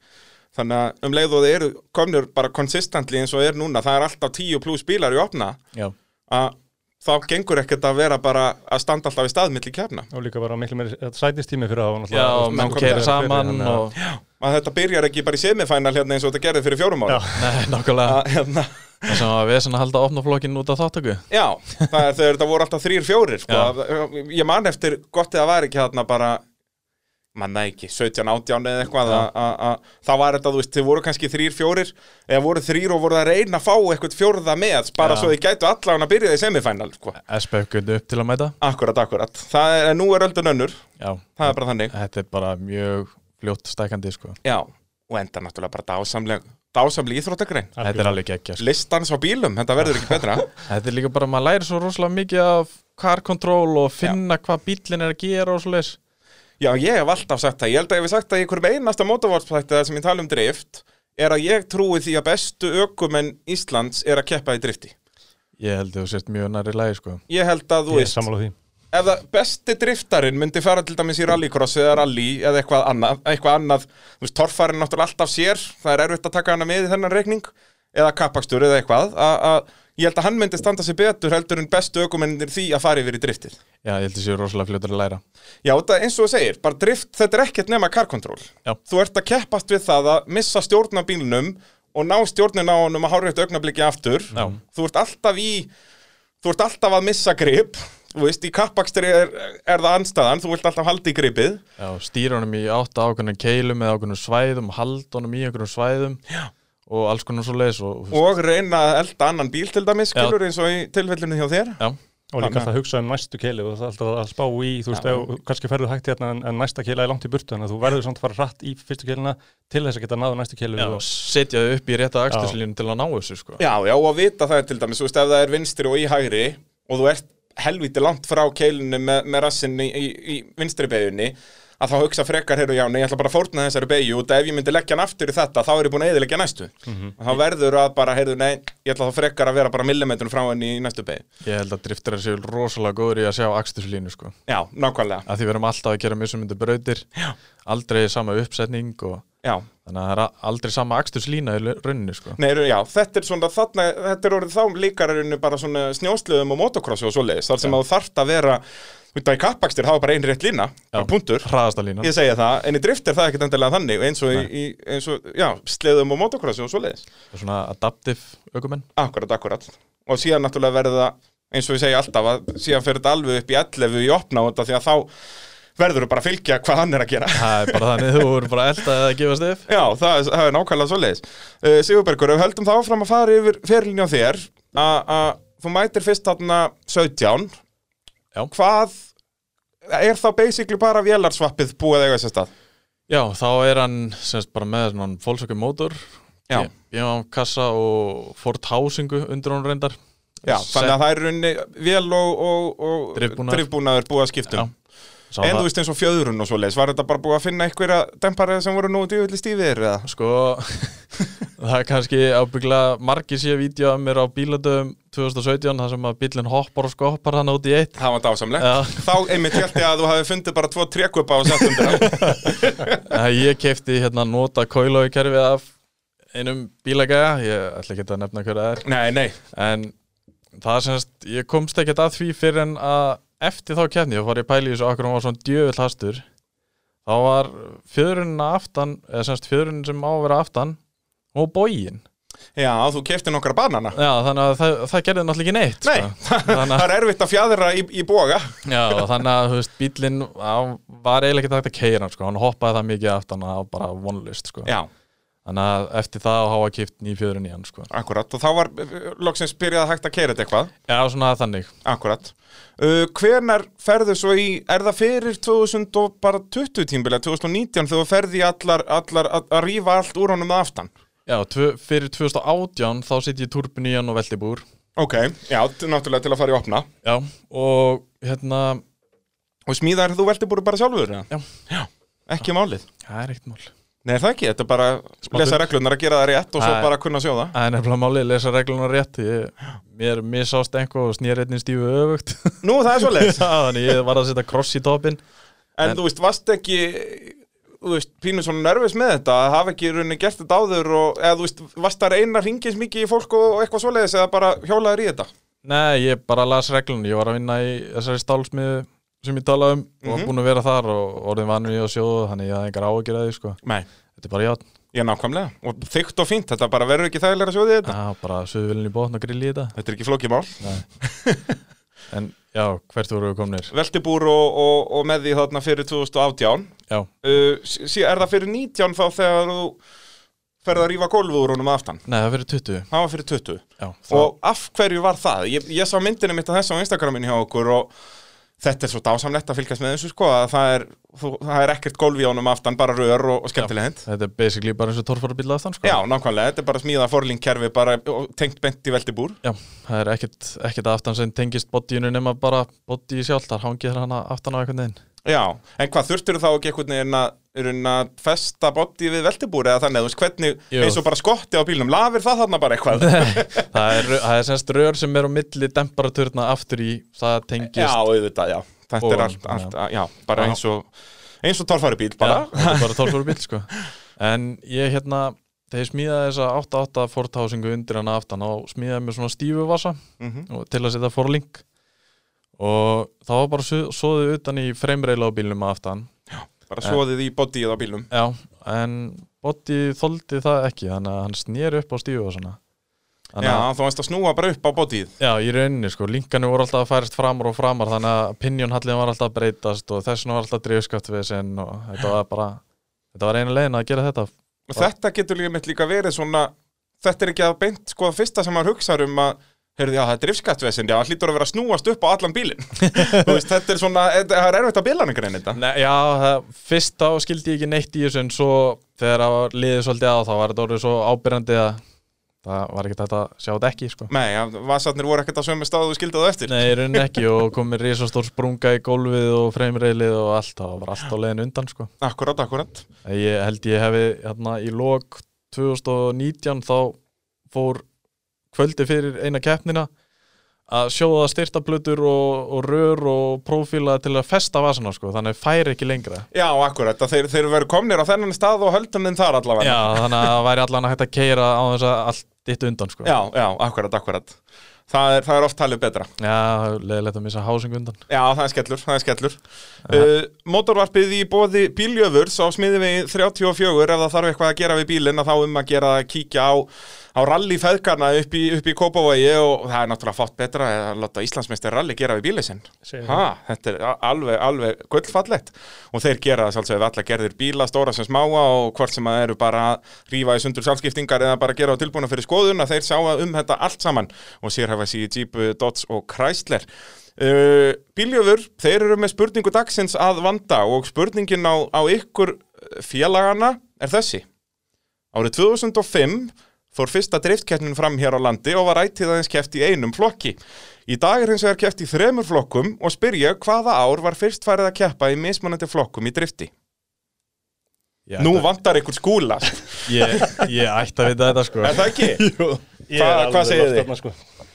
Speaker 1: þannig að um leið og þeir eru komnir bara konsistentli eins og er núna, það er alltaf 10 pluss bílar í opna
Speaker 3: já.
Speaker 1: að þá gengur ekkert að vera bara að standa alltaf í staðmill í kefna
Speaker 2: og líka bara miklu meiri þetta sætistími fyrir það var
Speaker 3: Já,
Speaker 2: náttúrulega, þú veist,
Speaker 3: og menn
Speaker 1: nákvæmlega.
Speaker 3: keira
Speaker 2: fyrir- hérna.
Speaker 3: saman
Speaker 2: þannig að-
Speaker 3: og
Speaker 1: að þetta byrjar ekki bara í semifænal hérna eins og þetta gerði fyrir fjórum ára
Speaker 2: Já.
Speaker 3: Nei, nákvæmlega,
Speaker 1: að, hérna,
Speaker 3: það sem að vesen að halda opnaflokkin út af þáttöku
Speaker 1: Já, það er þegar þetta voru alltaf þrýr, fjórir sko.
Speaker 3: Já.
Speaker 1: Að- Ég man eftir gott eða var ekki þarna bara manna ekki, 17, 18 eða eitthvað að- að- að- þá var þetta, þú veist, þið voru kannski þrýr, fjórir eða voru þrýr og voru að reyna að fá eitthvað fjórða með, bara
Speaker 3: Já.
Speaker 1: svo þið gætu allan að byrja í semifænal sko.
Speaker 3: SPF gundi upp til að mæta
Speaker 1: Akkurat, akkurat, það er, en nú er öldun önnur
Speaker 3: Já,
Speaker 1: það er bara þannig
Speaker 3: þetta er bara mjög fljótt stækandi sko
Speaker 1: Já, og enda náttúrulega bara dásamleg dásamleg íþróttagrein
Speaker 3: Þetta er alveg geggja sko.
Speaker 1: Listans á bílum, þetta verður ekki betra
Speaker 3: Þetta er líka bara, maður læri svo rosalega mikið af car control og finna hvað bílinn er að gera og svo leis
Speaker 1: Já, ég hef alltaf sagt það, ég held að ég hef sagt það í einhverjum einasta mótavartspætti þar sem ég tala um drift er að ég trúi því að bestu ökumenn Íslands er að keppa í drifti
Speaker 3: Ég held þú sért mjög nær í lagi sko
Speaker 1: Ég held að, þú
Speaker 2: ég er
Speaker 1: veist,
Speaker 2: sammála því
Speaker 1: ef það besti driftarinn myndi fara til dæmis í rallycross eða rally eða eitthvað annað, eitthvað annað þú veist, torfarinn náttúrulega alltaf sér, það er erfitt að taka hana með í þennan reikning eða kappakstur eða eitthvað að að- ég held að hann myndi standa sig betur heldur en bestu ökumennir því að fara yfir í driftið
Speaker 3: Já, ég held að séu rosalega fljótur að læra
Speaker 1: Já, þetta eins og þú segir, bara drift, þetta er ekkert nema car control.
Speaker 3: Já.
Speaker 1: Þú ert að keppast við það að missa stjórna bílnum og ná stjórnin á honum að hárið eitt augnabliki aftur.
Speaker 3: Já.
Speaker 1: Þú ert alltaf í, þú ert alltaf að missa grip, þú veist, í kappakstri er, er það anstæðan, þú vilt alltaf halda í gripið.
Speaker 3: Já, stýra honum í átta ákveðnum keilum eða ákveðnum svæðum, halda honum í ákveðnum svæðum Já. og alls konar svo leiðis og, og,
Speaker 1: Og reyna að elda annan bíl til dæmis, skilur eins og í tilfellinu hjá þér.
Speaker 3: Já,
Speaker 2: Og líka
Speaker 1: Þannig
Speaker 2: alltaf að hugsa um næstu keilu og það er alltaf að spá í, þú veist, ef, kannski ferðu hægt hérna en, en næsta keila er langt í burtu, þannig að þú verður samt að fara hratt í fyrstu keiluna til þess að geta náðu næstu keilu.
Speaker 3: já.
Speaker 2: og-
Speaker 3: setja þau upp í rétta axturslínu til að ná þessu sko.
Speaker 1: Já, já, og að vita það er til dæmis, þú veist, ef það er vinstri og í hægri og þú ert helviti langt frá keilinu með, með rassinni í, í, í vinstri beigjunni að þá hugsa frekar, heyrðu, já, nei, ég ætla bara að fórna þessari beigju út af ef ég myndi leggja hann aftur í þetta, þá er ég búin að eðileggja næstu þá verður að bara, heyrðu, nei, ég ætla þá frekar að vera bara millimetrun frá henni í næstu beigju
Speaker 3: Ég held að driftarar séu rosalega góður í að sjá axturslínu sko.
Speaker 1: Já, nákvæmlega,
Speaker 3: að því við erum alltaf að gera mismunandi brautir Já. aldrei sama uppsetning og
Speaker 1: já
Speaker 3: þannig að það er a- aldrei sama axturslína í lau- rauninni sko.
Speaker 1: Nei, heyrðu, já, þetta er svona, þarna, þetta er orðið þá líkararinu bara svona snjósluðum og motocrossi og svoleiðis, þar sem að þú þarft að vera, þú veit að í kappakstir hafa bara einn rétt lína, bara punktur
Speaker 3: hraðasta lína
Speaker 1: Ég segja það, en í drift er það ekkert endilega þannig eins og, í, í- eins og já, sleðum og motocrossi og svoleiðis.
Speaker 3: svona adaptive ökumenn
Speaker 1: Akkurat, akkurat. Og síðan náttúrulega verða, eins og ég segja alltaf, að síðan fyrir þetta alveg upp í 11 í opna út af því að þá verður þú bara að fylgja hvað hann er að gera.
Speaker 3: það er bara þannig þú voru bara eldað að gefa stef
Speaker 1: Já, það, er- það er nákvæmlega svoleiðis. Uh, Sigurbergur, ef höldum þá áfram að fara yfir fyrirlinni á þér, að að þú mætir fyrst þarna 17.
Speaker 3: Já.
Speaker 1: Hvað er þá basically bara vélarsvappið búið að eiga sér stað?
Speaker 3: já þá er hann semst bara með svona Volkswagen mótor
Speaker 1: Já.
Speaker 3: ég á kassa og Ford Housingu undir hún reyndar
Speaker 1: Já, þannig að það er runni vél og, og, og
Speaker 3: Drifbúnaður.
Speaker 1: drifbúnaður búið að skiptum
Speaker 3: sá
Speaker 1: En
Speaker 3: það
Speaker 1: þú veist eins og fjöðrun og svoleiðis, var þetta bara búið að finna einhverja dempari sem voru nú djúvillig stífir eða?
Speaker 3: sko það er kannski ábyggla margir sé vídeo af mér á bíladöfum 2017 þar sem að bílinn hoppar og skoppar hann út í eitt
Speaker 1: Það var dásamlegt
Speaker 3: Já.
Speaker 1: Þá einmitt held ég að þú hafi fundið bara tvo trekkupa á settundir
Speaker 3: Æ, ég kefti hérna nota kóilói kerfið af einum bílagæja, ég ætla ekki að nefna hverja það
Speaker 1: Nei, nei,
Speaker 3: er en það semst, ég komst ekkert að því fyrir en að eftir þá kefni, þá var ég að pæla í þessu okkur hún var svona djöfull hastur þá var fjöðrunin aftan eða semst fjöðrunin sem á að vera aftan og bógin,
Speaker 1: já, þú kefti nokkra banana
Speaker 3: já þannig að það, það gerði náttúrulega ekki neitt
Speaker 1: Nei,
Speaker 3: sko. þannig
Speaker 1: það
Speaker 3: að,
Speaker 1: er erfitt að fjadra í, í boga
Speaker 3: já, og þannig að þú veist, bílinn hann var eiginlega ekki takt að keira hann, sko. hann hoppaði það mikið aftan að það var bara vonlist sko.
Speaker 1: Já,
Speaker 3: Þannig að eftir það hafa kipt nýfjöðurinn í hann sko.
Speaker 1: akkurat, og þá var eh, loksins byrjað hægt að keira þetta eitthvað
Speaker 3: Já, svona þannig
Speaker 1: Akkurat. Uh, hvenar ferðu svo í, er það fyrir 2020 tímbilið, 2019 þegar þú ferði allar, allar að, að rífa allt úr honum að aftan?
Speaker 3: Já, tvö, fyrir 2018 þá sitt ég turbin í hann og velti búr
Speaker 1: Ok, já, t- náttúrulega til að fara í opna.
Speaker 3: Já, og hérna
Speaker 1: Og smíðar þú velti búið bara sjálfur? eða?
Speaker 3: Já.
Speaker 1: Ekki málið.
Speaker 3: Það er eitt mál Það
Speaker 1: Nei, það ekki, þetta er bara lesa reglunar að gera það rétt og svo
Speaker 3: Æ.
Speaker 1: bara kunna sjóða.
Speaker 3: er nefnilega málið, lesa regluna rétt ég, Mér misást einhver og snýr einnig stífu öfugt
Speaker 1: Nú, það er svo
Speaker 3: Já, Þannig ég var að setja kross í topin
Speaker 1: En þú veist, varst ekki þú veist, pínu svona nervis með þetta að hafa ekki í rauninni gert þetta áður og eða þú veist, varst það reyna ringins mikið í fólk og, og eitthvað svoleiðis eða bara hjólaður í þetta?
Speaker 3: Nei, ég bara las regluna Ég var að vinna í þessari stálsmiðu sem ég talaði um og
Speaker 1: Mhm.
Speaker 3: var búin að vera þar og orðin vanur í að sjóðu þannig ég hafði engar áhyggjur að því sko.
Speaker 1: Nei.
Speaker 3: Þetta er bara játn
Speaker 1: Já, nákvæmlega. Og þygt og fínt, þetta bara verður ekki þægilega að sjóði þetta.
Speaker 3: Já, bara söðvölinn í botn og grill í þetta
Speaker 1: Þetta er ekki flókið mál.
Speaker 3: En já, hvert voru við komnir?
Speaker 1: Veltibúr og, og, og með því þarna fyrir 2018.
Speaker 3: Já,
Speaker 1: Uh, sí, sí- er það fyrir 19 þá þegar þú ferð að rífa gólfið úr honum aftan?
Speaker 3: nei, það fyrir 20
Speaker 1: Það var fyrir 20.
Speaker 3: Já, það,
Speaker 1: Og af hverju var það? Ég, ég sá myndinu mitt að þessu á Instagramin hjá okkur og þetta er svo dásamlegt að fylgjast með þessu sko að það er, þú, það er ekkert gólf í honum aftan, bara rör og, og skemmtileg hend.
Speaker 3: Þetta er basically bara eins og torfarabíla aftan sko.
Speaker 1: Já, nákvæmlega, þetta er bara smíða forlingkerfi bara og tengt bent í veltibúr.
Speaker 3: Já, það er ekkert, ekkert aftan sem tengist bodyinu nema bara body sjálf þar hangið hana aftan á einhvern veginn
Speaker 1: Já, en hvað þurftur þá ekki einhvern veginn að, í rauninni að festa boddi við veltibúr eða þannig, þú veist hvernig,
Speaker 3: Jú.
Speaker 1: eins og bara skotti á bílnum, lafir það þarna bara eitthvað?
Speaker 3: Það er, það er semst rör sem er á milli demparaturna aftur í, það tengist
Speaker 1: Já, auðvitað, já. Þetta
Speaker 3: Og-
Speaker 1: er allt, allt, já, bara
Speaker 3: Já.
Speaker 1: eins og, eins og torfari bíl bara.
Speaker 3: Já, þetta er bara torfarabíl sko. En ég hérna þeir smíðaði þessa 8-8 fortásingu undir hann aftan og smíðaði með svona stífu vasa
Speaker 1: Mhm.
Speaker 3: og til að setja forlink og það var bara su- soðið utan í fremreila á bílnum að aftan
Speaker 1: Bara svoðið í bodyið á bílum
Speaker 3: Já, en Botti þoldi það ekki þannig að hann snýr upp á stífu og svona
Speaker 1: Já, þá varst að snúa bara upp á bodyið
Speaker 3: Já, í rauninni sko, linkanu voru alltaf að færast framar og framar þannig að pinjónhallin var alltaf að breytast og þessin var alltaf drifskapt við sinn og þetta var bara, þetta var einu leiðin að gera þetta
Speaker 1: Og þetta getur líka mitt líka verið svona Þetta er ekki að beint sko að fyrsta sem maður hugsa um að Heyrðu, já, það er drifskattvesin, já, hann hlýtur að vera að snúast upp á allan bílinn Þú veist, þetta er svona, þetta- það er erfitt að bílanum grein þetta
Speaker 3: Nei, Já, það, fyrst þá skildi ég ekki neitt í þessu en svo þegar það var liðið svolítið á þá var þetta orðið svo ábyrjandi að það var ekki þetta að sjá þetta ekki sko
Speaker 1: Nei, ja, vasarnir voru ekkert að sömu stað og þú skildið það eftir
Speaker 3: Nei, í rauninni ekki og komið risastór sprunga í gólfið og freimreilið og allt, það var allt á leiðin undan sko
Speaker 1: Akkurat, akkurat
Speaker 3: Ég held ég hefi hérna í lok 2019 þá fór kvöldi fyrir eina keppnina að sjóða styrtablutur og, og rör og prófíla til að festa vasana sko, þannig að færi ekki lengra.
Speaker 1: Já, akkurat, að þeir, þeir veru komnir á þennan stað og höldum þeim þar allavega
Speaker 3: Já, þannig að það væri allan að hægt að keira á þess að allt ditt undan sko.
Speaker 1: já, já, akkurat, akkurat það er, það er oft talið betra
Speaker 3: Já, leðilegt að missa hásing undan.
Speaker 1: Já, það er skellur, það er skellur uh, Mótorvarpið í bóði bíljöfurs á smiði við 34 ef það þarf eitthvað að gera við bílinn að þá um að gera að kíkja á, á rally feðgarna upp í, upp í Kópavogi og það er náttúrulega fátt betra að láta Íslandsmeistir rally gera við bílið sinn
Speaker 2: Segir
Speaker 1: ha, Þetta er a- alveg, alveg gullfallegt og þeir gera það sjálfsögðu við alla gerðir bíla stóra sem smáa og hvort sem að eru bara að rífa í sundur sjálfskiptingar eða bara gera á tilbúna fyrir skoðun að þeir sjá um þetta allt saman og sér hafa sig í Jeep, Dodge og Chrysler uh, Bíljöfur, þeir eru með spurningu dagsins að vanda og spurningin á, á ykkur eh, félagana er þessi Árið 2005 fór fyrsta driftkeppnin fram hér á landi og var ættið aðeins keppt í einum flokki. Í dag er hins vegar keppt í þremur flokkum og spyrja hvaða ár var fyrst farið að keppa í mismunandi flokkum í drifti.
Speaker 3: Já,
Speaker 1: Nú
Speaker 3: þetta-
Speaker 1: vantar ykkur skúla,
Speaker 3: Ég, ég ætti að vita þetta sko.
Speaker 1: er það ekki?
Speaker 2: Ég er
Speaker 1: Hvað-
Speaker 2: alveg
Speaker 1: hvað segið
Speaker 2: lost
Speaker 1: þið?
Speaker 2: þarna, sko.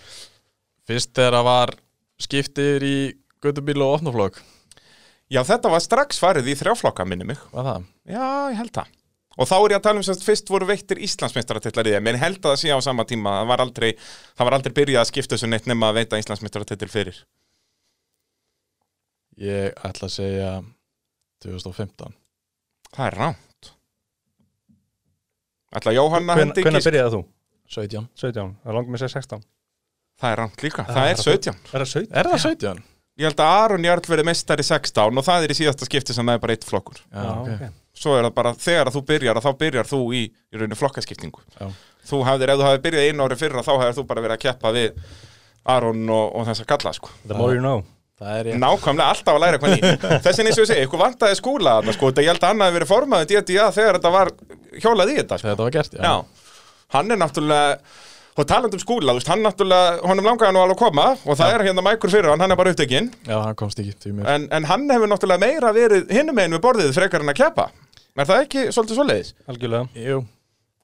Speaker 3: Fyrst þegar það var skiptir í gödubíl og opnuflokk,
Speaker 1: Já, þetta var strax farið í þrjá flokka, minni mig.
Speaker 3: var það?
Speaker 1: Já, ég held það. Og þá er ég að tala um sem sagt, fyrst voru veittir Íslandsmeistaratillar í þeim, en ég held að það sé á sama tíma, það var aldrei, það var aldrei byrjað að skipta þessu neitt nema að veita Íslandsmeistaratill fyrir.
Speaker 3: Ég ætla að segja 2015.
Speaker 1: Það er rámt. Ætla Jóhanna
Speaker 2: Hven-
Speaker 1: hendi
Speaker 2: Hvenær
Speaker 1: ekki?
Speaker 2: byrjaði þú?
Speaker 3: 17.
Speaker 2: 17, það langar mér að segja 16
Speaker 1: Það er rámt líka,
Speaker 2: Það
Speaker 1: það
Speaker 2: er
Speaker 1: er 17.
Speaker 2: Er það 17?
Speaker 3: Er það 17?
Speaker 1: Ég held að Aron Jarl verið mestar í 16 og það er í síðasta skipti sem það er bara eitt flokkur.
Speaker 3: Já, ok.
Speaker 1: Svo er það bara, þegar að þú byrjar, að þá byrjar þú í, í rauninu flokkaskiptingu.
Speaker 3: Já.
Speaker 1: Þú hefðir, ef þú hefði byrjað einu ári fyrra, þá hefðir þú bara verið að keppa við Aron og, og þessa kalla, sko.
Speaker 2: The more you know
Speaker 3: Það er ég.
Speaker 1: Nákvæmlega alltaf að læra eitthvað nýtt. Þessin eins og ég segi, ykkur vantaði skúla þarna, sko, þetta ég held að hann hafi verið formaðið DDA þegar þetta var hjólað í þetta, sko.
Speaker 3: Þegar þetta var gert, já.
Speaker 1: Já, hann er náttúrulega og talandi um skúla, þú veist, hann náttúrulega honum langaði nú alveg að koma og það er hérna mækur fyrir hann, hann er bara upptekinn
Speaker 3: Já, hann komst ekki því mér.
Speaker 1: en, en hann hefur náttúrulega meira verið hinum einu við borðið frekar en að keppa er það ekki svolítið svoleiðis?
Speaker 2: Algjörlega
Speaker 3: Jú.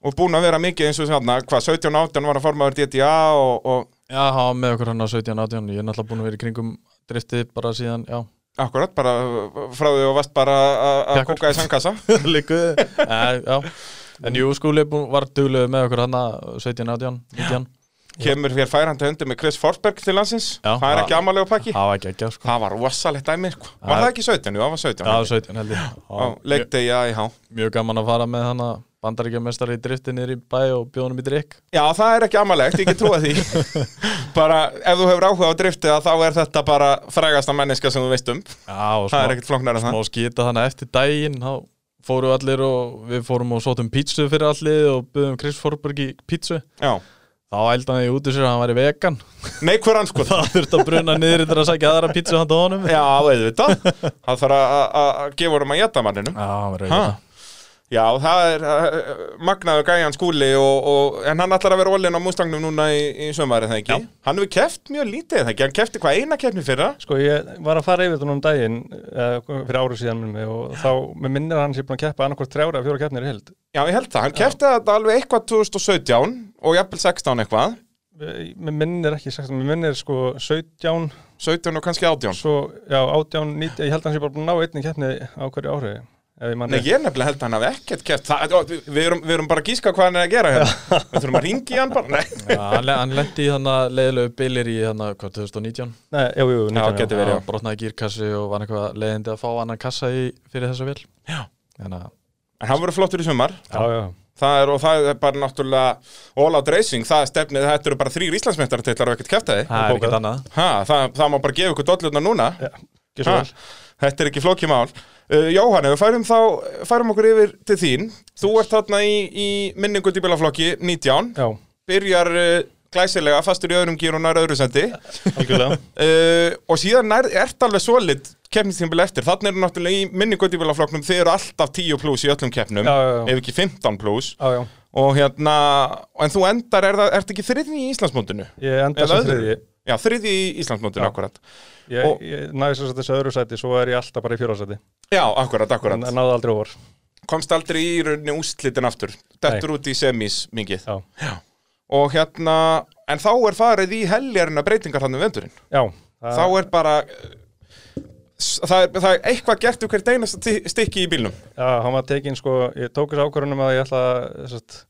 Speaker 1: og búin að vera mikið eins og þarna hvað, 17 18 var að formaður DDA og, og
Speaker 3: Já, hann var með okkur hann á 17, 18. Ég er náttúrulega búin að vera í kringum driftið bara síðan, já.
Speaker 1: akkurat bara uh, frá því og vast bara að- að
Speaker 3: Pjakkur.
Speaker 1: kóka í sangkassa
Speaker 3: Líkuði. Eh, já. En jú, skúli bú- var dugluð með okkur hann á 17, 18, 19.
Speaker 1: kemur hér færandi hundi með Chris Forsberg til landsins
Speaker 3: Já.
Speaker 1: það er
Speaker 3: Já.
Speaker 1: ekki amalega pakki
Speaker 3: Það var ekki ekki, sko.
Speaker 1: það var rosalegt dæmi, sko. var
Speaker 3: Já.
Speaker 1: það ekki 17? Jú, það var 17
Speaker 3: Já, 17 held ég.
Speaker 1: á
Speaker 3: Mjög,
Speaker 1: leikdegi AIH
Speaker 3: mjög gaman að fara með hann að bandaríkjameistari í driftið niður í bæ og bjóðunum í drikk.
Speaker 1: Já, það er ekki amalegt, ég get trúa því Bara, ef þú hefur áhuga á driftið þá er þetta bara frægasta menneska sem þú veist um
Speaker 3: Já, og
Speaker 1: Það
Speaker 3: smá-
Speaker 1: er ekkert flóknar en það
Speaker 3: smá skita þannig að eftir daginn þá fóru allir og við fórum og sótum pítsu fyrir allir og buðum Chris Forberg í pítsu
Speaker 1: Já,
Speaker 3: þá ældi hann í út úr sér að hann væri vegan
Speaker 1: nei hver hann sko
Speaker 3: það þurfti að bruna niður til að sækja aðra pítsu handa honum
Speaker 1: Já, auðvitað Það þarf að- að að gefa honum að jæta manninum
Speaker 3: hann var
Speaker 1: Ha?
Speaker 3: vegan
Speaker 1: Hérna. Já, það er uh, magnaður gæjan skúli og, og, en hann ætlar að vera ólinn á mústangnum núna í, í sömari, það ekki? Hann hefur keft mjög lítið, er það ekki? Hann kefti hvað eina keppni fyrra?
Speaker 2: Sko ég var að fara yfir þetta núna um daginn eh, fyrir árið síðan minni mig og þá með minnir að hann sé búin að keppa annarkvort trjára eða fjóra keppnir í held
Speaker 1: Já, ég held það, hann kefti þetta alveg eitthvað 2017 og jafnvel 16 eitthvað
Speaker 2: Eh, Mér minnir ekki 16, mér minnir sko 17
Speaker 1: 17 og kannski 18
Speaker 2: svo já 18, 19, ég held að hann sé bara búin að ná einni keppni á hverju ári ef ég mann
Speaker 1: Nei, ég nefnilega held að hann hafi ekkert keft það, ó, við, við, erum, við erum bara að gíska hvað hann er að gera hérna Við þurfum að ringi hann bara Nei,
Speaker 3: Já, hann, le- hann lendi í þannig að leiðilegu bilir í þannig, hvað, 2019?
Speaker 2: Nei, jú, jú, 19,
Speaker 1: geti verið, já.
Speaker 3: Hann Brotnaði gírkassi og var eitthvað leiðindi að fá annan kassa í, fyrir þessa vél.
Speaker 1: Já.
Speaker 3: Þannig að,
Speaker 1: en hann verður flottur í sumar
Speaker 2: já, já.
Speaker 1: Það er, og það er bara náttúrulega all out racing, það er stefnið, þetta eru bara þrýr Íslandsmeistartitlar og ekkert keftaði
Speaker 3: það er ekkert
Speaker 2: bókað.
Speaker 3: annað.
Speaker 1: ha, það, það má bara gefa ykkur dollurna núna
Speaker 2: Já, gjörðu svo
Speaker 1: ha,
Speaker 2: vel.
Speaker 1: Þetta er ekki flókimál uh, Jóhann, ef við færum, þá, færum okkur yfir til þín Þú ert þarna í, í minningu dýbjálaflokki 19
Speaker 2: Já,
Speaker 1: Byrjar uh, glæsilega fastur í öðrum gýr og nær öðru sendi
Speaker 2: algjörlega
Speaker 1: uh, og síðan nær, ert alveg solid keppnistímbil eftir, þannig eru náttúrulega í minni gottíbjálaflokknum, þeir eru alltaf 10 pluss í öllum keppnum,
Speaker 2: Já, já, já.
Speaker 1: ef ekki 15 pluss
Speaker 2: Já, já,
Speaker 1: og hérna, en þú endar er það, ert ekki þriðni í Íslandsmótinu
Speaker 2: ég enda sem þriði
Speaker 1: Já, þriðni í Íslandsmótinu,
Speaker 2: Já.
Speaker 1: akkurat Og-
Speaker 2: Ég, ég næði sem sagt þessu öðru sæti, svo er ég alltaf bara í fjóra sæti
Speaker 1: Já, akkurat,
Speaker 2: En
Speaker 1: akkurat,
Speaker 2: en náði aldrei óvar
Speaker 1: komst aldrei í rauninni úslitin aftur, dettur út í semis mingið,
Speaker 2: Já,
Speaker 1: og hérna en þá er farið í heljarina breytingar hann um vendurinn
Speaker 2: já
Speaker 1: þá er bara s- það er, það er eitthvað gert um hvert einasta ti- stykki í bílnum
Speaker 2: Já, hann var tekin sko, ég tók þessu ákvörunum að ég ætla að, sem sagt,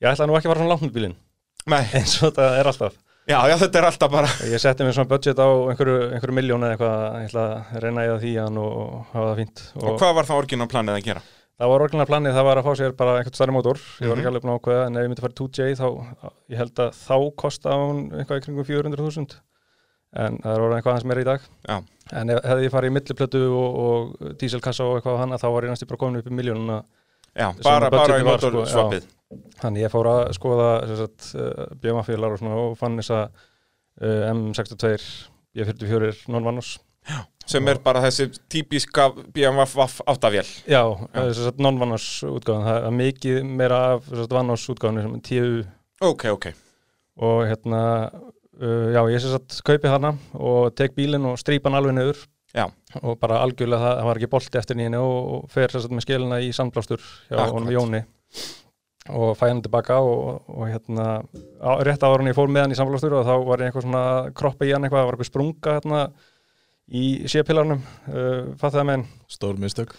Speaker 2: Ég ætla nú ekki að fara svona langt með bílinn
Speaker 1: Nei,
Speaker 2: eins og þetta er alltaf
Speaker 1: já, já, þetta er alltaf bara
Speaker 2: Ég setti mér svona budget á einhverju, einhverju miljón eða eitthvað, ég ætla að reyna í það því hann og og hafa það fínt
Speaker 1: Og hvað var það orginal planið að gera?
Speaker 2: Það var orginlega planið, það var að fá sér bara einhvern stærri mótor, ég var ekki alveg búin að ákveða, en ef ég myndi að fara í 2J þá, ég held að þá kosta hún eitthvað í kringum 400.000, en það er orðin eitthvað aðeins meira í dag.
Speaker 1: Já,
Speaker 2: En ef hefði ég farið í milliplötu og, og díselkassa og eitthvað á hana, þá var ég næstu bara komin upp í miljónuna.
Speaker 1: já bara,
Speaker 2: budgetið
Speaker 1: bara í
Speaker 2: var, sko,
Speaker 1: motorsvapið
Speaker 2: Þannig ég fór að skoða sem sagt, uh, BMA-félagar og svona og fann þess að uh, M62, B44, non-vannos.
Speaker 1: Sem er bara þessi típiska BMW áttavél
Speaker 2: Já, já. Sagt, non-vannos útgáðan, það er mikið meira af sem sagt, vannos útgáðan, sem tíu
Speaker 1: Ok, ok
Speaker 2: og hérna uh, já, ég sem sagt kaupi hana og tek bílinn og strýpa hann alveg niður
Speaker 1: Já,
Speaker 2: og bara algjörlega það, það var ekki bolti eftir nýjunni og, og fer sem sagt með skilina í sandblástur hjá
Speaker 1: Akkurat.
Speaker 2: honum Jóni og fæ hann tilbaka og, og hérna á, rétt áður en ég fór með hann í sandblástur og þá var ég eitthvað svona að kroppa í hann eitthvað, það var eitthvað sprunga hérna í sépilarnum uh, fattaði menn
Speaker 3: Stór mistök.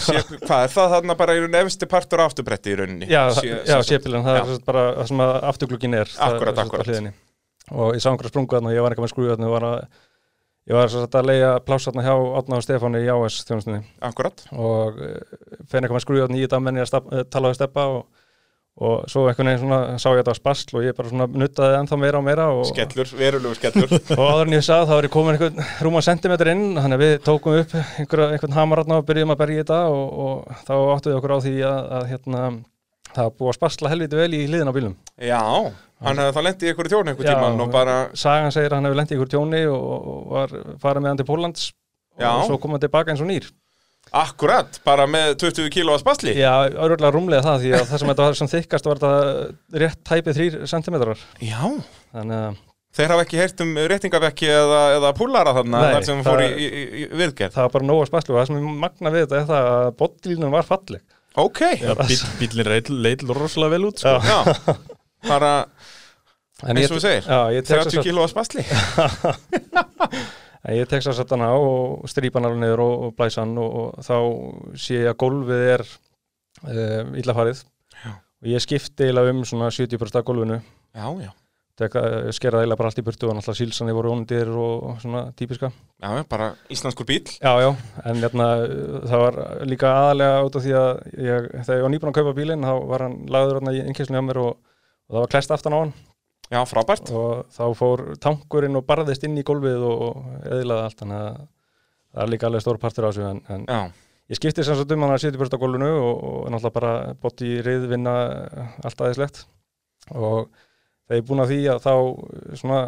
Speaker 1: Sé, hvað er það þarna bara í rauninni efsti partur á afturbretti í rauninni?
Speaker 2: Já,
Speaker 1: Sé-
Speaker 2: sé, já
Speaker 1: sem sagt-
Speaker 2: sépilann, það
Speaker 1: já.
Speaker 2: er sem sagt bara það sem að afturglugin er það
Speaker 1: Akkúrat,
Speaker 2: er sem sagt á
Speaker 1: akkúrat.
Speaker 2: hliðinni. Og ég sá einhverja sprungu þarna og ég var eitthvað með skrúið þarna og var að ég var sem sagt að leiða pláss þarna hjá Átna og Stefáni í AS þjónustinni
Speaker 1: Akkurat
Speaker 2: og eh, fenni eitthvað með skrúið þarna í þetta menn ég að staf- eh, tala við steppa og, og svo einhvern veginn svona sá ég þetta á spasl og ég bara svona nuttaði ennþá meira og meira og,
Speaker 1: Skellur, verulegu skellur
Speaker 2: og áður en ég sagði þá er ég komin einhvern rúma sentimetr inn þannig að við tókum upp einhver, einhvern hamaratna og byrjum að berja í þetta og, og þá áttum við okkur á því að, að hérna, það var búið að spasla helviti vel í hliðin á bílum
Speaker 1: Já, hann hefði þá lendið í einhverju tjónu einhver
Speaker 2: Já.
Speaker 1: tíman og bara
Speaker 2: Sagan segir að hann hefur lent í ykkur tjóni og, og var farið með hann til Póllands
Speaker 1: Já.
Speaker 2: og svo kom hann tilbaka eins og nýr
Speaker 1: Akkurat, bara með 20 kíló að spasli
Speaker 2: Já, örgulega rúmlega það því að það sem þetta var sem þykkast var þetta rétt tæpið þrýr sentimetrar
Speaker 1: Já.
Speaker 2: þannig að
Speaker 1: Þeir hafa ekki heyrt um réttingavekki eða, eða púlara þarna
Speaker 2: Nei,
Speaker 1: þar sem fór í,
Speaker 2: það-
Speaker 1: í, í, í viðgerð
Speaker 2: það var bara nóga spaslu og það sem ég magna við þetta er það að bottlínum var falleg
Speaker 1: Ok,
Speaker 3: Já, bíl, bílinn reit- leit rosalega vel út, sko.
Speaker 2: Já.
Speaker 1: já. bara
Speaker 2: En
Speaker 1: Eins
Speaker 2: ég-
Speaker 1: og þú segir,
Speaker 2: Já, ég tek svo
Speaker 1: 30 kíló að spasli
Speaker 2: En ég tek svo sett hana og strýpa hann alveg niður og, og blæsa hann og, og þá sé ég að gólfið er uh, illa farið
Speaker 1: Já.
Speaker 2: og ég skipti eiginlega um svona 70% af gólfinu
Speaker 1: Já, já,
Speaker 2: Tek- eh, skeraði eiginlega bara allt í burtu og náttúrulega sílsanni voru óndir og svona típiska
Speaker 1: já, já, bara íslenskur bíl
Speaker 2: Já, já, en hérna, eh, það var líka aðalega út af því að ég, þegar ég var nýbúin að kaupa bílinn þá var hann lagður hann í innkesslunni á mér og, og það var klest aftan á hann
Speaker 1: Já, frábært
Speaker 2: og þá fór tankurinn og barðist inn í gólfið og, og eðlaði allt þannig að það er líka alveg stór partur á þessu en, en
Speaker 1: Já,
Speaker 2: ég skipti sem sagt um hann að setja burt á gólfinu og, og náttúrulega bara botti í riðvinna allt aðeinslegt og þegar ég er búin að því að þá eh, svona,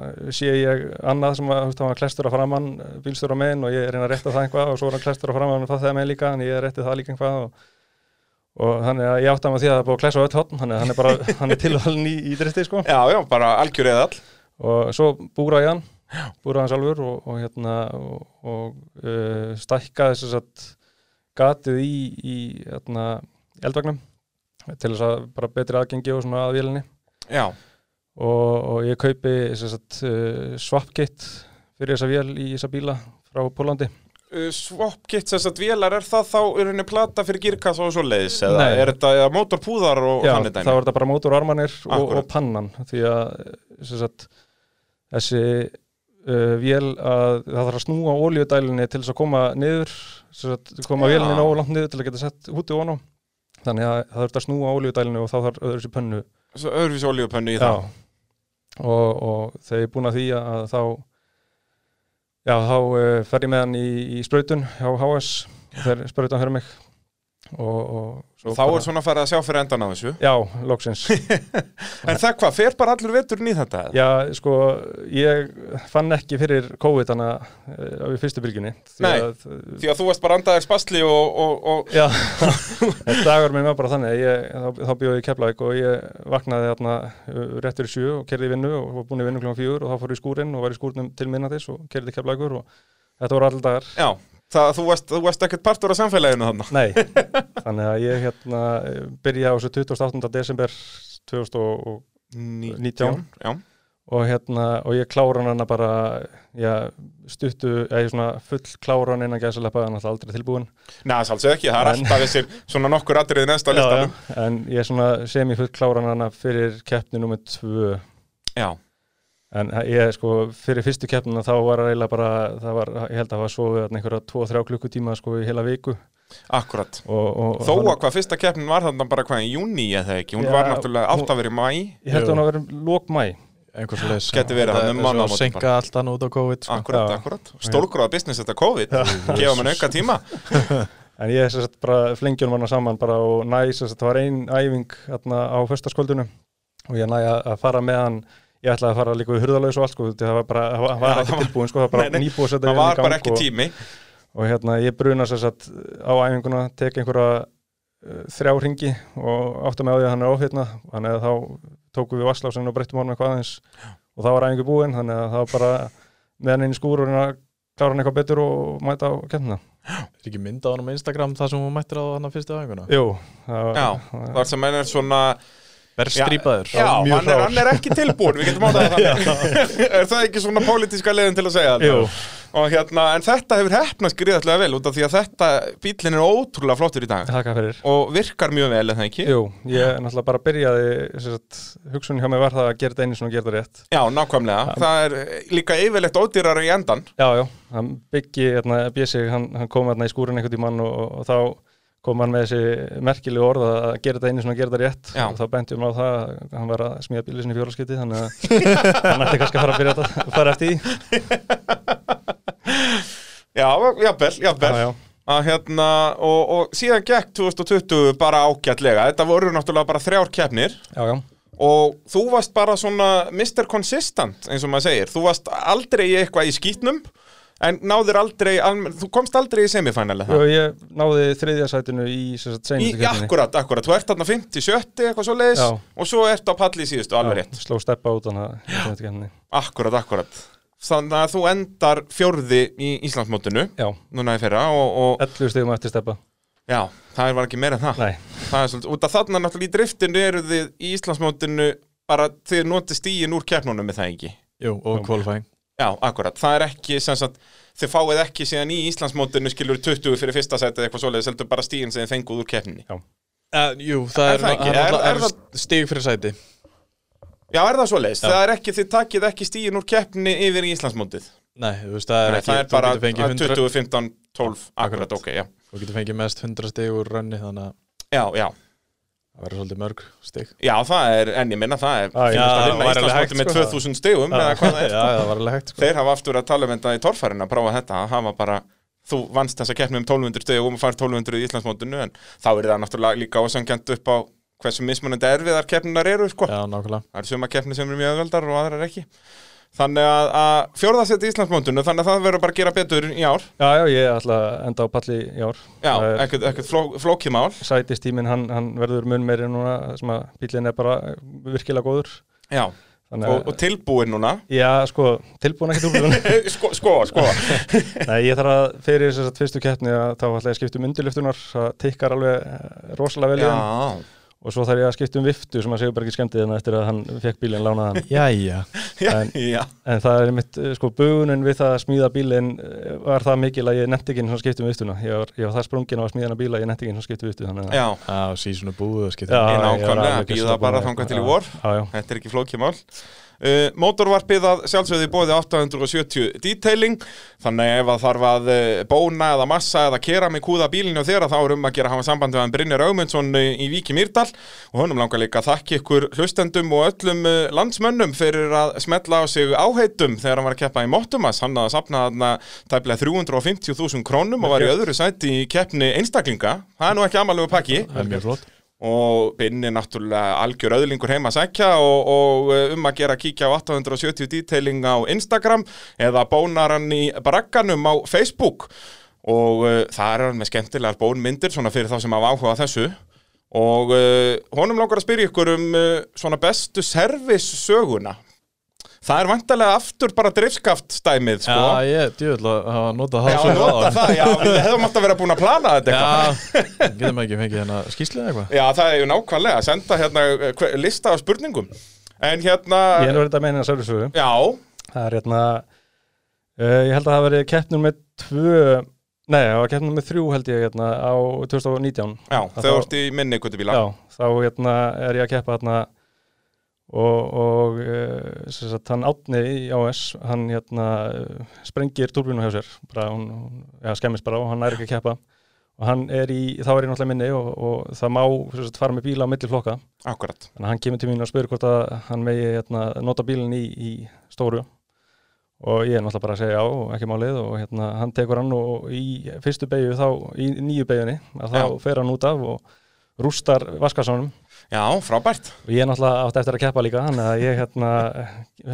Speaker 2: sé ég annað sem að þú veist, hann var klestur að framann, bílstur á megin og ég reyna að rétta það einhvað og svo er hann klestur að framann og það þegar megin líka en ég rétti það líka einhvað og, og þannig að ég átti að því að það er búið að klessa á öll hotn þannig að hann er bara, hann er tilvalin í, í dristi sko
Speaker 1: já, já, bara algjör eða all
Speaker 2: og svo búraði ég hann búraði hann sjálfur og, og hérna og, og uh, stækkaði þess að gatið í, í hérna, eldvagnum til þess að bara betri aðgengi og svona að vélinni
Speaker 1: Já,
Speaker 2: og, og ég eh, kaupi þess að uh, swapkit fyrir þessa vél í þessa bíla frá Pólandi
Speaker 1: uh, swapkit þess að vélar er það þá er henni plata fyrir girkassa og svo leiðis eða
Speaker 2: Nei.
Speaker 1: er þetta eða mótorpúðar og
Speaker 2: Já,
Speaker 1: þannig
Speaker 2: þá
Speaker 1: dæmi
Speaker 2: er þetta bara mótor armanir og,
Speaker 1: Akkúrat.
Speaker 2: og pannan því að sem sagt, þessi uh, vél að það þarf að snúa óljudælinni til þess að koma niður sem sagt, koma
Speaker 1: Já.
Speaker 2: vélinni nógu langt niður til að geta sett húti og honum þannig að það þarf að snúa óljudælinni og þá þarf öðru sér pönnu
Speaker 1: Svo öðruvísi olíupönnu í það
Speaker 2: og, og þegar ég er búin að því að þá já, þá uh, fer ég með hann í, í sprautun hjá HS þegar sprautan fyrir mig og, og svo
Speaker 1: þá
Speaker 2: bara-
Speaker 1: er svona farið að sjá fyrir endan á þessu
Speaker 2: Já, loksins
Speaker 1: en það hvað, fer bara allur veturinn í þetta eða?
Speaker 2: Já, sko, ég fann ekki fyrir COVID hana eh, á fyrstu bylginni því
Speaker 1: Nei.
Speaker 2: að, eh,
Speaker 1: því að þú varst bara andaðir spasli og, og, og
Speaker 2: Já, en dagur minn var bara þannig að ég, þá, þá bjóði ég í Keflavík og ég vaknaði þarna uh, rétt fyrir sjö og kerði í vinnu og var búin í vinnu klokkan fjör og þá fór ég í skúrin og var í skúrinum til minnatis og kerði í Keflavíkur og þetta voru allir dagar
Speaker 1: já, það, þú, varst, þú varst ekkert partur af samfélaginu þarna
Speaker 2: Nei, þannig að ég hérna byrja á þessu 28. desember 2019 Nítján.
Speaker 1: já,
Speaker 2: og hérna, og ég klára hann bara, já, stuttu, eða ég svona full klára hann innan gæðsaleppa, hann er alltaf aldrei tilbúin.
Speaker 1: neða, sálsög ekki, það er
Speaker 2: En-
Speaker 1: alltaf þessir svona nokkur atriði neðst á listanum
Speaker 2: En ég svona sem ég full klára hann fyrir keppni nummer tvö,
Speaker 1: já,
Speaker 2: en ég sko, fyrir fyrstu keppnina þá var það eiginlega bara, það var, ég held að það var sofið þarna einhverja 2-3 klukkutíma sko í heila viku
Speaker 1: akkurat
Speaker 2: og, og
Speaker 1: Þó að hvað fyrsta keppnin var þarna bara hvað í júni eða ekki, hún
Speaker 2: Já,
Speaker 1: var náttúrulega
Speaker 2: hún-
Speaker 1: átt að vera í mæ
Speaker 2: Ég held að hann að vera lók mæ,
Speaker 3: einhvers leys
Speaker 1: Gæti verið þarna um mánaðamótin
Speaker 3: senka allt annað út á COVID sko.
Speaker 1: Akkurat,
Speaker 2: Já.
Speaker 1: akkurat, stórgróða business þetta COVID, gefa mann auka tíma
Speaker 2: en ég sem sagt bara flengjum hann saman bara og næ, sem sagt, það var ein æfing hérna á föstaskvöldunum og ég næ að að fara með hann Ég ætlaði að fara líka við hurðalaus og allt sko, því það var bara, það var- það var
Speaker 1: Já,
Speaker 2: ekki
Speaker 1: það var-
Speaker 2: tilbúin sko, það var bara
Speaker 1: Nei, nei,
Speaker 2: nýbúið að setja
Speaker 1: Það
Speaker 2: vélina í
Speaker 1: var bara
Speaker 2: gang
Speaker 1: ekki
Speaker 2: og-
Speaker 1: tími
Speaker 2: og hérna ég bruna sér satt á æfinguna, tek einhverja uh, þrjá ringi og átta mig á því að hann er ofhyrna þannig að þá tókum við vasslásinu og breyttum honum eitthvað aðeins og þá var æfingu búin þannig að það var bara með hann inn í skúr og reyna að klára hann eitthvað betur og mæta á kemna
Speaker 3: Er ekki mynda á hann á Instagram það sem hún mættir á hann fyrstu æfinguna?
Speaker 2: Jú, það var,
Speaker 1: Já, þar sem hann er svona
Speaker 3: Verð
Speaker 1: Já,
Speaker 3: strýpaður
Speaker 1: Já,
Speaker 2: mjög
Speaker 1: hann er,
Speaker 2: hrár.
Speaker 1: hann er ekki tilbúin, við getum áttað þannig Er það ekki svona pólitíska leiðin til að segja
Speaker 2: Jú.
Speaker 1: þetta? Og hérna, en þetta hefur hefnast gríðatlega vel út af því að þetta bílinn er ótrúlega flottur í dag
Speaker 2: þakka fyrir
Speaker 1: og virkar mjög vel, er það ekki?
Speaker 2: Jú, ég náttúrulega bara byrjaði sem sagt, hugsun hjá mig var það að gera þetta einu svona og gera þetta rétt
Speaker 1: Já, nákvæmlega, það er líka yfirleitt ódýrar í endan
Speaker 2: Já, já, hann byggi, hérna, Bjössi, hann, hann kom hérna í skúrin einhvern tímann og, og, og þá kom hann með þessi merkilegu orð að gera þetta einu svona gera þetta rétt
Speaker 1: Já.
Speaker 2: og þá benti um á það að hann var að smíða bílið sinni fjóraskiti þannig að hann ætti kannski að fara að byrja þetta að fara eftir því
Speaker 1: Já, jafnvel, jafnvel
Speaker 2: Já, já.
Speaker 1: að hérna, og, og síðan gekk 2020 bara ágætlega þetta voru náttúrulega bara þrjár keppnir
Speaker 2: Já, já,
Speaker 1: og þú varst bara svona Mr. Consistent eins og maður segir þú varst aldrei í eitthvað í skýtnum en náðir aldrei, almen, þú komst aldrei í semifænali það
Speaker 2: og ég náði þriðja sætinu í sem sagt
Speaker 1: Í,
Speaker 2: seinustu keppninni.
Speaker 1: akkurat, akkurat, þú ert þarna 50, 70 eitthvað svo leiðis
Speaker 2: Já.
Speaker 1: og svo ertu á palli í síðustu, alveg rétt
Speaker 2: Já, Sló steppa út hann að þetta kenni
Speaker 1: Akkurat, akkurat Þannig að þú endar fjórði í Íslandsmótinu
Speaker 2: Já,
Speaker 1: núna í fyrra og, og
Speaker 2: 11 stegum eftir steppa
Speaker 1: já, það var ekki meira en það
Speaker 2: Nei,
Speaker 1: Það er svolítið, út af þarna náttúrulega í driftinu eru þið í Íslandsmótinu bara þið notið stíin úr keppnunum með það ekki
Speaker 3: Jú, og kvalifæng
Speaker 1: Já, akkurat, það er ekki sem sagt, þið fáið ekki síðan í Íslandsmótinu skilur 20 fyrir fyrsta setið eitthvað svoleiðis heldur bara stíin sem þið fenguð úr keppninni
Speaker 3: uh, Jú, það
Speaker 1: Er
Speaker 3: er,
Speaker 1: það ekki?
Speaker 3: það
Speaker 1: Er-
Speaker 3: er,
Speaker 1: er
Speaker 3: er, er stig fyrir sæti
Speaker 1: Já, er það svoleiðis? Það er ekki, þið takið ekki stíin úr keppni yfir í Íslandsmótið
Speaker 3: Nei, þú veist, það er
Speaker 1: Nei,
Speaker 3: ekki
Speaker 1: Það er bara
Speaker 3: Þú getur fengið, 100,
Speaker 1: 20, 15, 12, akkurat, ok, já
Speaker 3: þú getur fengið mest 100 stig úr rönni þannig að
Speaker 1: Já, já,
Speaker 3: það verður svolítið mörg stig
Speaker 1: já, það er, en ég minna það er
Speaker 2: Æ, já,
Speaker 1: það
Speaker 3: það
Speaker 1: vinna
Speaker 3: Ah, væri alveg hægt,
Speaker 1: Íslandsmótið með
Speaker 3: sko.
Speaker 1: 2000 stigum eða hvað það er
Speaker 3: Já, það var alveg hægt sko.
Speaker 1: Þeir hafa aftur að tala um þetta í torfærin að prófa þetta að hafa bara, þú vannst þessa keppni um 1200 stöðu og fær 1200 í Íslandsmótinu en þá er það náttúrulega líka ósangjant upp á hversu mismunandi erfiðar keppninar eru sko.
Speaker 3: Já, nákvæmlega
Speaker 1: það eru suma keppni sem eru mjög öðveldar og aðrar ekki þannig að, að fjórðasett í Íslandsmótinu þannig að það verður bara að gera betur í ár
Speaker 2: já, já, ég ætla að enda á palli í ár
Speaker 1: Já,
Speaker 2: Það er-
Speaker 1: ekkert, ekkert fló, flókið mál
Speaker 2: sætistíminn hann, hann verður mun meiri núna sem að bílinn er bara virkilega góður
Speaker 1: Já,
Speaker 2: þannig
Speaker 1: og,
Speaker 2: að,
Speaker 1: og tilbúin núna
Speaker 2: já sko, tilbúin ekki tilbúin
Speaker 1: Sko, sko, sko
Speaker 2: Nei, ég þarf að fyrir þess að fyrstu keppni að þá ætla ég að skipta um undirliftunar það tikkar alveg eh, rosalega vel í
Speaker 1: Já,
Speaker 2: hann og svo þarf ég að skipta um viftu sem að Sigurbergi skemmti þannig eftir að hann fekk bílinn lánað hann
Speaker 3: Jæja
Speaker 1: Já,
Speaker 2: En-
Speaker 1: já,
Speaker 2: en það er mitt, sko, bugunin við það að smíða bílinn eh, var það mikil að ég nefndi ekki einu sinni að skipta um viftuna ég var, ég var það sprungin á að smíða hann að bíla ég nefndi ekki einu sinni að skipta um viftu þannig að
Speaker 1: já.
Speaker 3: Já, síðan búið og skipt
Speaker 2: Já,
Speaker 1: Ég
Speaker 2: ég var
Speaker 1: nákvæmlega,
Speaker 2: alveg
Speaker 1: bíða
Speaker 2: gjörsamlega
Speaker 1: bara
Speaker 2: búinn að-
Speaker 1: þangað til í
Speaker 2: Já,
Speaker 1: vor.
Speaker 2: já, já.
Speaker 1: Þetta er ekki flókið mál. Uh, mótorvarpið að sjálfsögðu í bóði 870 detailing þannig ef að þarf að eh, bóna eða massa eða kera með kúða bílinu þér að þá er um að gera að hafa samband við hann Brynjar Aumundsson eh, í Víki Mýrdal og honum langar líka að þakki ykkur hlustendum og öllum eh, landsmönnum fyrir að smetla á sig áheitum þegar hann var að keppa í Mottumas hann hafði safnað þarna tæplega 350.000 krónum og var í öðru sæti í keppni einstaklinga það er nú ekki amalegu pakki
Speaker 3: Það er mjög flott
Speaker 1: og Binni náttúrulega algjör öðlingur heima að sækja og, og eh, um að gera að kíkja á 870 detailing á Instagram eða bónar hann í bragganum á Facebook og uh, það er hann með skemmtilegar bónmyndir svona fyrir þá sem hafa áhuga á þessu og uh, honum langar að spyrja ykkur um uh, svona bestu servissöguna það er vantarlega aftur bara driftskaftstæmið sko
Speaker 3: Já, ég, djúvel að hafa notað
Speaker 1: Já,
Speaker 3: það svo
Speaker 1: nota
Speaker 3: áðan.
Speaker 1: það, já, við hefðum alltaf verið að búin að plana þetta eitthvað
Speaker 3: Já, getum ekki fengið hérna skýslu eða eitthvað
Speaker 1: Já, það er ju nákvæmlega að senda hérna eh, hver- lista af spurningum En hérna,
Speaker 2: Ég er nú reynda að meina servisu
Speaker 1: já,
Speaker 2: Það er hérna uh, Ég held að það veri keppnum með tvö Nei, það var keppnum með þrjú held ég hérna á 2019
Speaker 1: já,
Speaker 2: Það
Speaker 1: þau
Speaker 2: þá-
Speaker 1: vart í minni kutubíla
Speaker 2: Já, þá hérna er ég að keppa hérna og, og uh, sem sagt, hann átni í AS hann hérna eh, sprengir turbínu hjá sér bara, hún, hún, ja, skemmist bara og hann er ekki að keppa og hann er í, þá er ég náttúrulega minni og, og það má sem sagt, fara með bíla á milli flokka
Speaker 1: Akkurat,
Speaker 2: Þannig að hann kemur til mín og spyr hvort að hann megi hérna, nota bílinn í, í stóru og ég er náttúrulega bara að segja já og ekki málið og hérna, hann tekur hann og í fyrstu beigju þá, í nýju beigjunni að þá
Speaker 1: Já.
Speaker 2: fer hann út af og rústar vaskasónum
Speaker 1: já, frábært
Speaker 2: og ég er náttúrulega átt eftir að keppa líka þannig að ég hérna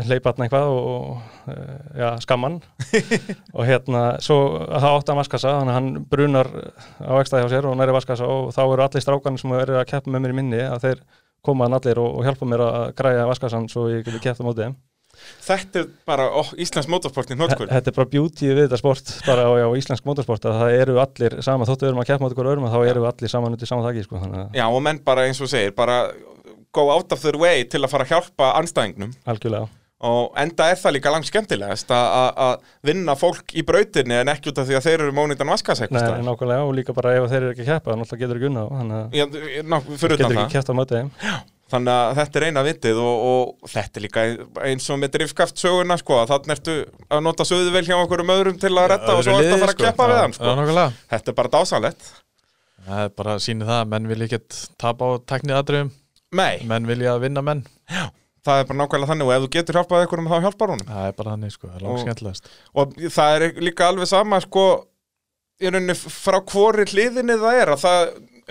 Speaker 2: leipa hann eitthvað og eh, já, skamman og hérna svo þá átti hann vaskasa þannig að hann brunar á ekstaði hjá sér og næri vaskasa og þá eru allir strákan sem eru að keppa með mér í minni að þeir koma hann allir og, og hjálpa mér að græja vaskasan svo ég geti keppt á móti þeim.
Speaker 1: Þetta er bara ó, Íslands motorsportin
Speaker 2: Þe-
Speaker 1: hnotkul
Speaker 2: Þetta er bara beauty við þetta sport bara á, á íslensk motorsport að það eru allir saman þóttu við erum að keppa móti hver öðrum að þá eru við allir saman út í saman þakki sko, þannig að
Speaker 1: Já, og menn bara eins og þú segir, bara go out of their way til að fara að hjálpa anstæðingnum
Speaker 2: algjörlega
Speaker 1: og enda er það líka langt skemmtilegast að- að að vinna fólk í brautinni en ekki út af því að þeir eru mónindan
Speaker 2: Nei,
Speaker 1: vaskasekkustar
Speaker 2: nákvæmlega og líka bara ef þeir eru ekki að keppa náttúrulega getur ekki unnað þá, þannig að
Speaker 1: Já, ná, fyrir utan
Speaker 2: getur
Speaker 1: það
Speaker 2: ekki kæft á móti þeim
Speaker 1: Þannig að þetta er eina vitið og, og þetta er líka eins og með drifkaft söguna sko, að þannig ertu að nota söðuvel hjá einhverjum öðrum til að retta og svo ertu að fara að keppa við hann
Speaker 3: Já,
Speaker 1: sko.
Speaker 3: nákvæmlega
Speaker 1: Þetta er bara dásanlegt
Speaker 3: Það er bara að sína það að menn vilja ekkert tapa á tekniðatriðum
Speaker 1: Nei,
Speaker 3: Menn vilja vinna menn
Speaker 1: það er bara nákvæmlega þannig og ef þú getur hjálpað einhverjum þá hjálpar honum
Speaker 3: Það er bara þannig sko, það er langt
Speaker 1: Og-
Speaker 3: skemmtilegast
Speaker 1: og það er líka alveg sama sko, í rauninni frá hvori hliðinni það er að það,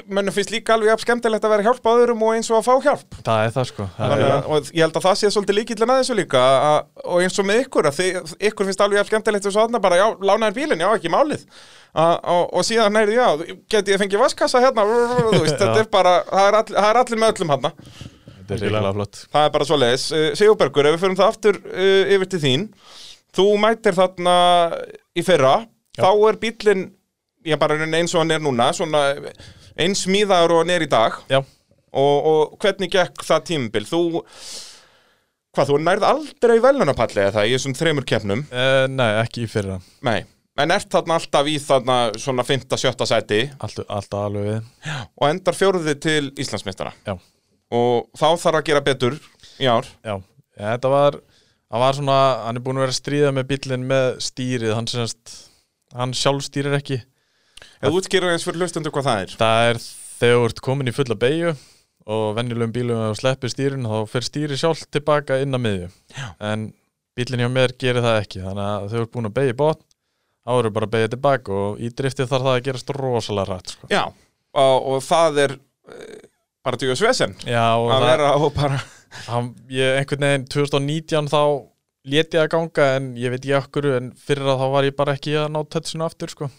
Speaker 1: mönnum finnst líka alveg jafn skemmtilegt að vera að hjálpa öðrum og eins og að fá hjálp
Speaker 3: Það er það sko það
Speaker 1: Þannig
Speaker 3: er,
Speaker 1: að, og ég held að það sé svolítið líkillin að þessu líka að, og eins og með ykkur að þið, ykkur finnst alveg jafn skemmtilegt og svo aðna bara, já, lánaðir bílinn, já, ekki málið að, og, og síðan er, já, geti ég fengið vaskassa hérna, þú veist, þetta er bara það er, all, það er allir með öllum hérna
Speaker 3: Þetta er reykulega flott
Speaker 1: það er bara svo leiðis, Sigurbergur, ef við förum það aftur uh, yfir til þín þú mætir þarna í fyrra þá er bílinn, ég bara eins og hann er núna, svona eins smíðaður og hann er í dag
Speaker 3: Já,
Speaker 1: og, og hvernig gekk það tímabil? Þú, hvað, þú nærð aldrei velunapalli eða það í þessum þremur keppnum?
Speaker 3: uh, nei, ekki í fyrra
Speaker 1: Nei. En ert þarna alltaf í þarna svona 5-7 sæti
Speaker 3: Alltaf, alltaf alveg við
Speaker 1: og endar fjóruði til Íslandsmeistara
Speaker 3: Já,
Speaker 1: og þá þarf að gera betur í ár.
Speaker 3: já ja, Þetta var, hann var svona, hann er búin að vera að stríða með bílinn með stýrið Hann, semast, hann sjálfstýrir ekki
Speaker 1: Ef þú útskýrir eins fyrir hlustendur hvað það er.
Speaker 3: Það er þegar þú ert komin í fulla beigju og venjulegum bílum að þú sleppir stýrin þá fer stýri sjálf tilbaka inn að miðju Já. en bílinn hjá mér gerir það ekki þannig að þau ert búin að beigja bótt þá eru bara að beigja tilbaka og í drifti þarf það að gerast rosalega rætt sko.
Speaker 1: Já, og, og það er eh, bara djúið svesen
Speaker 3: Já, og
Speaker 1: að
Speaker 3: það,
Speaker 1: vera og bara...
Speaker 3: hann, ég einhvern veginn 2019 þá lét ég að ganga en ég veit ég okkur en fyrir að þá var ég bara ekki að ná tötsinu aftur sko.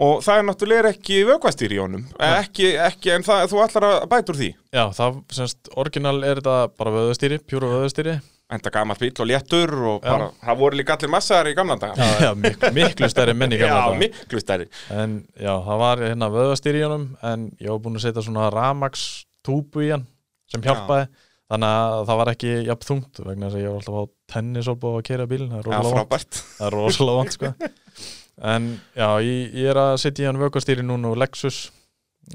Speaker 1: Og það er náttúrulega ekki vökvastýr í honum, Eh, ekki, ekki en það, þú ætlar að bæta úr því.
Speaker 3: Já, það semst, orginal er þetta bara vöðustýri, pjúru vöðustýri
Speaker 1: Enda gammal bíl og léttur og
Speaker 3: Já.
Speaker 1: bara, það voru líka allir massaðar í gamla daga.
Speaker 3: Já, miklu, miklu stærri menn í gamla
Speaker 1: Já,
Speaker 3: daga.
Speaker 1: miklu stærri
Speaker 3: En já, það var hérna vöðastýrjónum en ég var búinn að setja svona ramax túpu í hann sem hjálpaði þannig að það var ekki jafn þungt vegna þess að ég var alltaf á tennisolbó að keira bílinn það er
Speaker 1: Já,
Speaker 3: rosalega vont.
Speaker 1: frábært.
Speaker 3: það er rosalega vant sko. en já, ég, ég er að sitja í hann vökkastýri núna og Lexus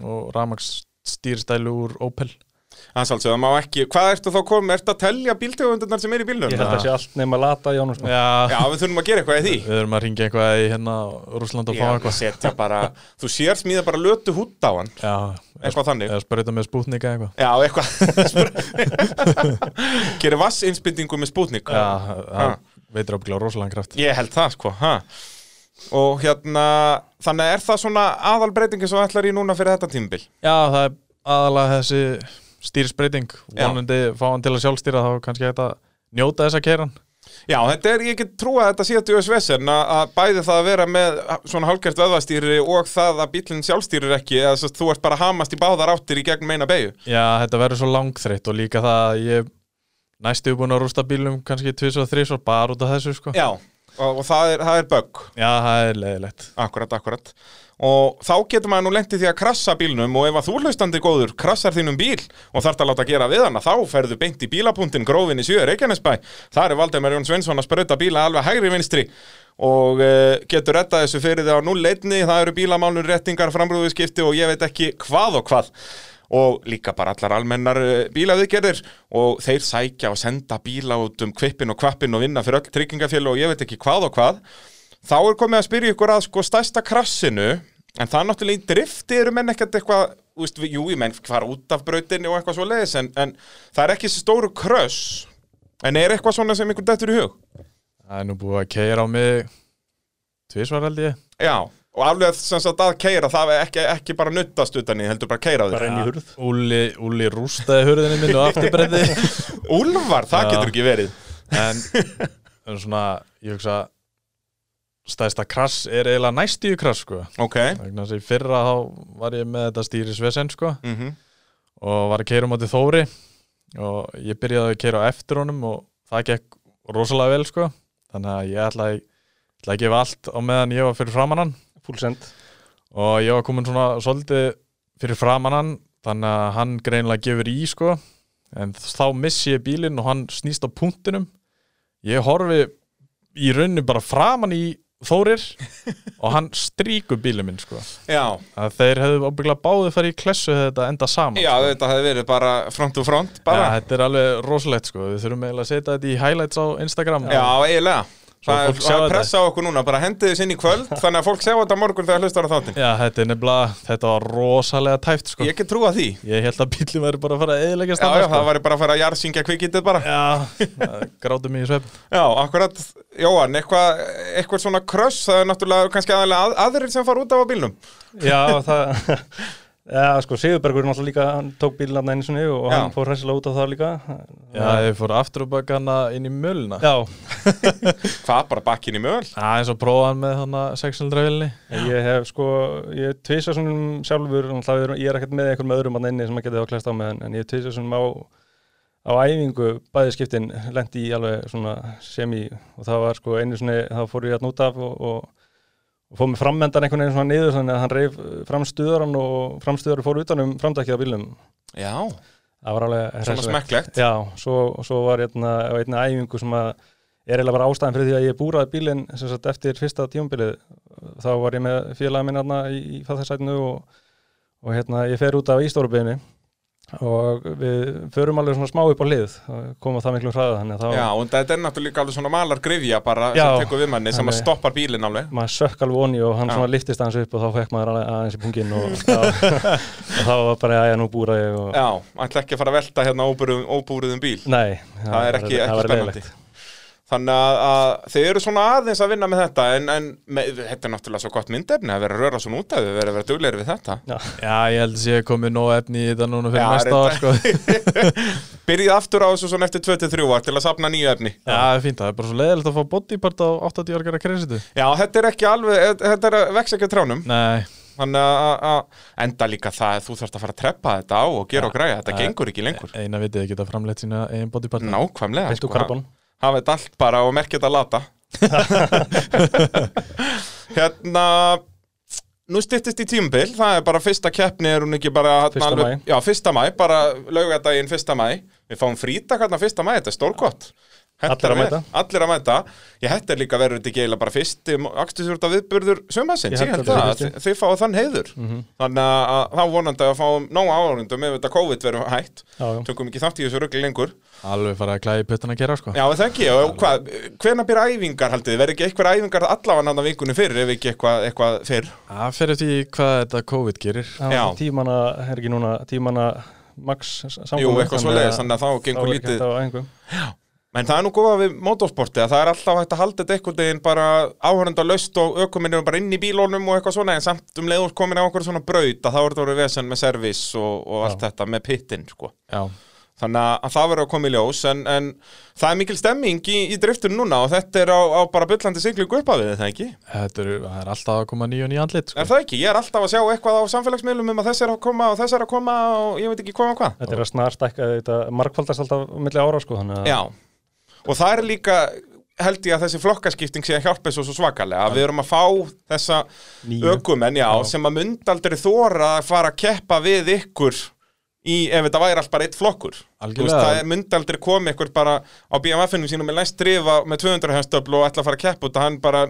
Speaker 3: og Ramax stýrstælu úr Opel
Speaker 1: Það er alveg, það má ekki, hvað ertu þá komið, ertu að telja bíltegundunar sem er í bílunum?
Speaker 2: Ég held að
Speaker 3: Já.
Speaker 2: sé allt nema lata í ánum sko.
Speaker 1: Já,
Speaker 3: já,
Speaker 1: við þurfum að gera eitthvað í því.
Speaker 3: við erum að ringja eitthvað í hérna Rúsland og fá
Speaker 1: Já,
Speaker 3: eitthvað
Speaker 1: setja bara, þú sér smíða bara lötu hútt á hann,
Speaker 3: já, eða-
Speaker 1: eitthvað þannig.
Speaker 3: eða spyrja með spútnika eitthvað
Speaker 1: Já, eitthvað. Gerir vassinspyndingu með spútnik.
Speaker 3: já,
Speaker 1: Ha.
Speaker 3: það veitur ábygglega rosalega kraft
Speaker 1: Ég held það, sko. Ha. Og hérna, þannig að er það svona aðalbreytingi sem þú ætlar í núna fyrir þetta tímbil?
Speaker 3: já, það er aðalega þessi stýrisbreyting
Speaker 1: Já.
Speaker 3: vonandi fá hann til að sjálfstýra þá er kannski hægt að njóta þess að keira hann
Speaker 1: Já, þetta er, ég get trúa að þetta sé að djóðis vesen að að bæði það að vera með svona hálgert vöðvastýri og það að bílinn sjálfstýrir ekki eða svo, þú ert bara að hamast í báðar áttir í gegnum eina beigju.
Speaker 3: Já, þetta verður svo langþreytt og líka það að ég næstu búin að rústa bílum kannski tvis og þrís og bara út af þessu sko.
Speaker 1: Já. Og, og það er, það er bögg,
Speaker 3: Já, það er leiðilegt.
Speaker 1: akkurat, akkurat. Og þá getur maður nú lent í því að krassa bílnum og ef að þú hlustandi góður krassar þínum bíl og þarft að láta gera við hana, þá ferðu beint í bílapunktin grófin í 7 Reykjanesbæ. Þar er Valdemar Jón Sveinsson að sprauta bíla alveg hægri vinstri og uh, getur retta þessu fyrir því á 0-1, það eru bílamálun, rettingar, framrúðuskipti og ég veit ekki hvað og hvað og líka bara allar almennar eh, bílaviðgerðir og þeir sækja og senda bíla út um kvippin og kvappin og vinna fyrir öll tryggingafjölu og ég veit ekki hvað og hvað þá er komið að spyrja ykkur að sko stærsta krassinu en það er náttúrulega í drifti eru menn ekkert eitthvað þú veist, við- jú, ég menn fara út af brautinni og eitthvað svo leiðis en, en það er ekki þessi stóru kröss en er eitthvað svona sem ykkur dettur í hug
Speaker 3: Það er nú búið að keira á mig tvisvar held ég.
Speaker 1: já, og aflega sem sagt að keira það er ekki, ekki bara nuttast utan í heldur bara keira
Speaker 2: Bara
Speaker 1: því
Speaker 2: inn í hurð
Speaker 3: Úli, Úli rústaði hurðinni minn og afturbrendi.
Speaker 1: Úlfar, það
Speaker 3: Já.
Speaker 1: getur ekki verið
Speaker 3: en, en svona, ég hugsa stæðsta krass er eiginlega næstíu krass sko.
Speaker 1: ok,
Speaker 3: Vegna þess að í fyrra þá var ég með þetta stýri svesen sko.
Speaker 1: mhm
Speaker 3: og var að keira um átti Þóri og ég byrjaði að keira á eftir honum og það gekk rosalega vel sko þannig að ég ætlaði, ætlaði að gefa allt á meðan ég var fyrir framann hann
Speaker 2: Full send
Speaker 3: og ég var komin svona svolítið fyrir framann hann þannig að hann greinlega gefur í sko en þá missi ég bílinn og hann snýst á punktinum ég horfi í rauninu bara framann í Þórir og hann stríkur bílinn minn sko
Speaker 1: Já,
Speaker 3: að þeir hefðu ábygglega báðið farið í klessu hefði þetta enda saman
Speaker 1: já
Speaker 3: sko.
Speaker 1: þetta hefði verið bara front to front
Speaker 3: Já,
Speaker 1: bara.
Speaker 3: þetta er alveg rosalegt sko Við þurfum eiginlega að setja þetta í highlights á Instagram
Speaker 1: Já, eiginlega
Speaker 3: Svo
Speaker 1: Það er
Speaker 3: fólk sjá
Speaker 1: það er
Speaker 3: þetta.
Speaker 1: pressa á okkur núna, bara hendið þess inn í kvöld þannig að fólk sjá þetta á morgun þegar hlustar á þáttin
Speaker 3: Já, þetta er nefnilega, þetta var rosalega tæft sko
Speaker 1: Ég
Speaker 3: Ég,
Speaker 1: ekki trúa því Já,
Speaker 3: held að bílum væri bara að fara að eðilegja
Speaker 1: já,
Speaker 3: standa sko
Speaker 1: það væri bara að fara að jarðsingja kvikitið bara
Speaker 3: Já, það grátum mig í svefn
Speaker 1: Já, akkurat, Jóhann, eitthvað eitthvað svona kröss, það er náttúrulega kannski aðalega að, aðrir sem fara út af á bílnum
Speaker 2: Já, það Já, sko, Sigurbergur er náttúrulega líka Hann tók bílnafna einu sinni og
Speaker 1: Já.
Speaker 2: hann fór hressilega út á það líka
Speaker 3: Já, ég fór aftur og baka hana inn í mölna Já,
Speaker 2: Já,
Speaker 1: Hvað, bara bakkin í mögul?
Speaker 3: eins og prófa hann með hana 600 vilni
Speaker 2: ég hef sko, ég tvisa svona sjálfur, náttúrulega við erum- ég er ekkert með einhverjum öðrum að neinni sem að geta þá klæst á með hann, en ég tvisa svona á, á æfingu, bæði skiptin lendi í alveg svona semi og það var sko einu svona, þá fór ég hérna út af og, og, og fór með frammendan einhvern veginn svona niður, þannig að hann reif framstuðaran og framstuðaran fór utan um framdækið á bílum.
Speaker 1: Já,
Speaker 2: Það var alveg
Speaker 1: svona
Speaker 2: hressilegt.
Speaker 1: smekklegt
Speaker 2: Já, svo, svo var hérna á einna æfingu sem að er eiginlega bara ástæðan fyrir því að ég búraði bílinn sem sagt eftir fyrsta tímabilið þá var ég með félaga minn hérna í, í fattasætinu og, og hérna ég fer út af Ístórubiðinni og við förum alveg svona smá upp á hlið og koma það miklu hraða þannig að þá
Speaker 1: Já, og þetta er náttúrulega alveg svona malar grifja bara
Speaker 2: Já.
Speaker 1: sem tekur við manni sem að
Speaker 2: Þannig-
Speaker 1: stoppar bílinn alveg
Speaker 2: maður sökk alveg onni og hann
Speaker 1: Já.
Speaker 2: svona liftist aðeins upp og þá fekk maður alveg aðeins í pungin og, þá- og þá var bara að ég nú búra ég og
Speaker 1: Já, ætla ekki að fara að velta hérna óbúruðum, óbúruðum bíl
Speaker 2: nei,
Speaker 1: það er ekki, ekki
Speaker 2: það var
Speaker 1: spennandi
Speaker 2: leiðilegt.
Speaker 1: þannig að, að þið eru svona aðeins að vinna með þetta en, en með, þetta er náttúrulega svo gott myndefni að vera að röra svona út af við vera að vera duglegri við þetta
Speaker 3: Já, ég held að sé komið nóg efni í þetta núna fyrir
Speaker 1: Já,
Speaker 3: næsta ár sko Já,
Speaker 1: byrjið aftur á þessu svona eftir 23 ár til að sapna nýju efni
Speaker 3: það er fínt, það er bara svo leiðilegt að fá bodypart á 80 orgar að kresitu
Speaker 1: já, þetta er ekki alveg, e, þetta er að vex ekki á trjánum
Speaker 3: Nei,
Speaker 1: þannig að, að- að enda líka það að þú þarfst að fara að treppa þetta á og gera og græja, þetta
Speaker 3: Já.
Speaker 1: gengur ekki lengur
Speaker 3: eina vitið geta framleitt sína einn bodypart
Speaker 1: nákvæmlega, sko.
Speaker 2: Viltu karbon?
Speaker 1: hafa þetta allt bara og merkja þetta lata hérna nú styttist í tímabil, það er bara fyrsta keppni er hún ekki bara þarna
Speaker 2: Fyrsta maí.
Speaker 1: já, fyrsta mæ, bara laugardaginn fyrsta mæ við fáum frítak hérna fyrsta mæ, þetta er stórkott Hentar
Speaker 2: Allir að
Speaker 1: vel.
Speaker 2: mæta.
Speaker 1: allir að mæta, ég hætti líka verður þetta ekki eiginlega bara fyrsti akstisjórta viðburður
Speaker 2: Ég
Speaker 1: sömarsins, ég
Speaker 2: held
Speaker 1: held
Speaker 2: að Mhm.
Speaker 1: það,
Speaker 2: þetta
Speaker 1: að
Speaker 2: sé
Speaker 1: þi- þið fáið þann heiður þannig að- að þá vonandi að fáum nóg áhörundum ef þetta COVID verður hætt
Speaker 2: Já, já.
Speaker 1: tökum ekki þátt í þessu rugli lengur
Speaker 3: Alveg farið að klæði puttana að gera sko
Speaker 1: Já, er það ekki, og hvað, hvenær byrja æfingar haldið, þið? verður ekki eitthvað æfingar allavega hann að vikunni fyrr, ef ekki eitthvað, eitthvað fyrr
Speaker 3: Það fyrir því hvað þetta COVID gerir
Speaker 2: Það
Speaker 1: Já.
Speaker 2: var tímana, er ekki núna, tímana max samkomi.
Speaker 1: Jú, eitthvað svoleiðis, þannig að þá gengur lítið
Speaker 2: Þá er ekki hægt á engum.
Speaker 1: En það er nú góða við motorsporti að það er alltaf hægt að halda þetta einhvern veginn bara áhörenda laust og ökuminn eru bara inn í bílónum og eitthvað svona en samt um leiður komin á okkur svona braut að það voru það voru vesen með servis og, og allt þetta með pittin sko.
Speaker 3: Já,
Speaker 1: Þannig að- að það verður að koma í ljós en, en það er mikil stemming í, í driftun núna og þetta er á, á bara byllandi siglingu upp af við þetta ekki?
Speaker 3: þetta er, það er alltaf að koma nýjun í andlit sko.
Speaker 1: Er það ekki? Ég er alltaf að sjá eitthvað á samfélagsmiðlum um að þessi er að koma og þessi er að koma og ég veit ekki hvað og hvað.
Speaker 2: Þetta er að snarstækka þetta markfaldast alltaf á milli ára sko, þannig að
Speaker 1: Já, og það er líka held ég að þessi flokkaskipting sé að hjálpa þessu svo svakalega, að við erum að fá þessa
Speaker 2: Nýju.
Speaker 1: ökumenn, já, sem að mynd aldrei þóra að fara að keppa við ykkur í, ef þetta væri allt bara eitt flokkur Þú
Speaker 3: Algjörlega.
Speaker 1: það er mynd aldrei komið ykkur bara á BMF-inum sínum með læst drifa með 200 hestöfl og ætla að fara að keppa út að hann bara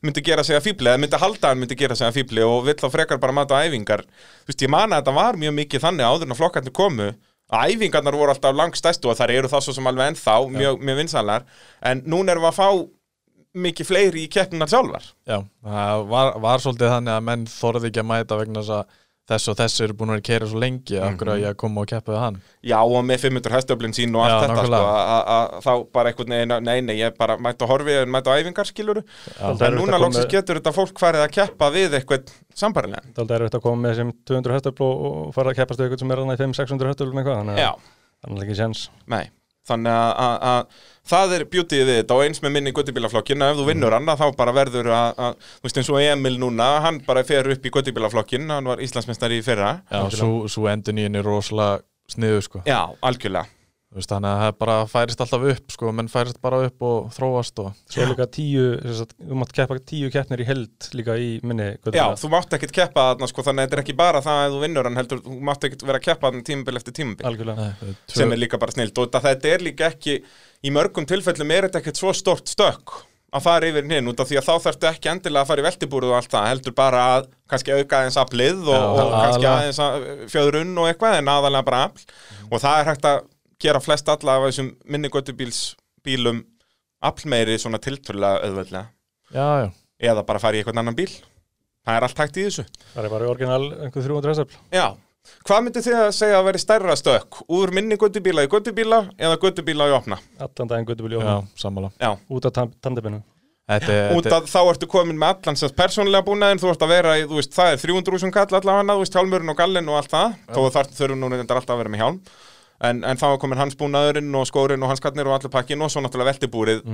Speaker 1: myndi gera sig að fíbli eða myndi halda að hann myndi gera sig að fíbli og vill þá frekar bara mata á æfingar þú veist, ég man að þetta var mjög mikið þannig áður en að flokkarnir komu að æfingarnar voru alltaf langstæstu og þar eru þá svo sem alveg ennþá mjög, mjög vinsanlar en núna erum við að fá mikið fleiri í keppninar sjálfar
Speaker 3: Já, það var, var svolítið þannig að menn þorði ekki að mæta vegna þess að þess og þess eru búin að keira svo lengi af hverju
Speaker 1: Mhm.
Speaker 3: að ég að koma og keppa við hann
Speaker 1: Já, og með 500 hestöflin sín og allt
Speaker 3: Já,
Speaker 1: þetta sko,
Speaker 3: nákvæmlega.
Speaker 1: að- að- að þá bara einhvern veginn, að- nei, nei, ég bara mæta að horfi en mæta á æfingar skiluru
Speaker 2: Dálítið
Speaker 1: en
Speaker 2: erfitt
Speaker 1: núna
Speaker 2: að koma
Speaker 1: loksins
Speaker 2: með-
Speaker 1: getur þetta fólk farið að keppa við eitthvað sambarilega
Speaker 2: Þetta er auðvitað að koma með sem 200 höstöfl og og fara að keppast við ykkur sem er hann í 500-600 höstöfl með eitthvað, þannig
Speaker 1: Já,
Speaker 2: að það er ekki séns.
Speaker 1: nei Þannig að, að, að það er beautyið við þetta og eins með minni í göttibílaflokkinn að ef þú vinnur hann að þá bara verður að, að þú veist eins og Emil núna, hann bara fer upp í göttibílaflokkinn, hann var Íslandsmeistari í fyrra
Speaker 3: Já, svo, svo endur nýjun er rosalega sniðu sko.
Speaker 1: Já, algjörlega
Speaker 3: Þú veist, Þannig að það bara færist alltaf upp sko, menn færist bara upp og þróast og
Speaker 2: Svo er líka tíu, sem sagt, þú mátt keppa tíu keppnir í held líka í minni. göttubíla.
Speaker 1: Já, þú mátt ekkit keppa þarna sko, þannig að þetta er ekki bara það að þú vinnur hann heldur, þú mátt ekkit vera að keppa þarna tímabil eftir tímabil
Speaker 2: Algjörlega.
Speaker 3: Nei, tvö-
Speaker 1: sem er líka bara snilt og þetta- þetta er líka ekki í mörgum tilfellum er þetta ekkert svo stort stökk að fara yfir hinn út af því að þá þarftu ekki endilega að fara í veltibúruð og allt það heldur bara að kannski auka aðeins aflið og,
Speaker 3: Já,
Speaker 1: og kannski
Speaker 3: aðalega. Mhm.
Speaker 1: aðeins að eh, fjöðrun og eitthvað en aðalega bara afl og það er hægt að gera flest alla af þessum minni göttubílsbílum aflmeiri svona tiltölulega auðveldlega
Speaker 3: Já, já,
Speaker 1: eða bara fara í eitthvað annan bíl það er allt hægt í þessu
Speaker 2: Það er bara í orginal einhver 300 höstöfl.
Speaker 1: Já, hvað myndi þið að segja að veri stærra stökk úr minni göttubíla í göttubíla eða göttubíla í opna?
Speaker 2: Allan daginn göttubíl
Speaker 3: já,
Speaker 2: Jóhann.
Speaker 3: sammála
Speaker 1: Já,
Speaker 2: Út af tam- tandeminu.
Speaker 3: Þetta er,
Speaker 1: út að þá ertu komin með allan sem persónlega búnaðin, þú ert að vera í, þú veist, það er 300.000 kall allavega, þú veist, hjálmurinn og gallinn og allt það, þó að þar þurfum nú reyndar alltaf að vera með hjálm, en, en þá er komin hans búnaðurinn og skórinn og hans kallnir og allir pakkin og svo náttúrulega veltibúrið,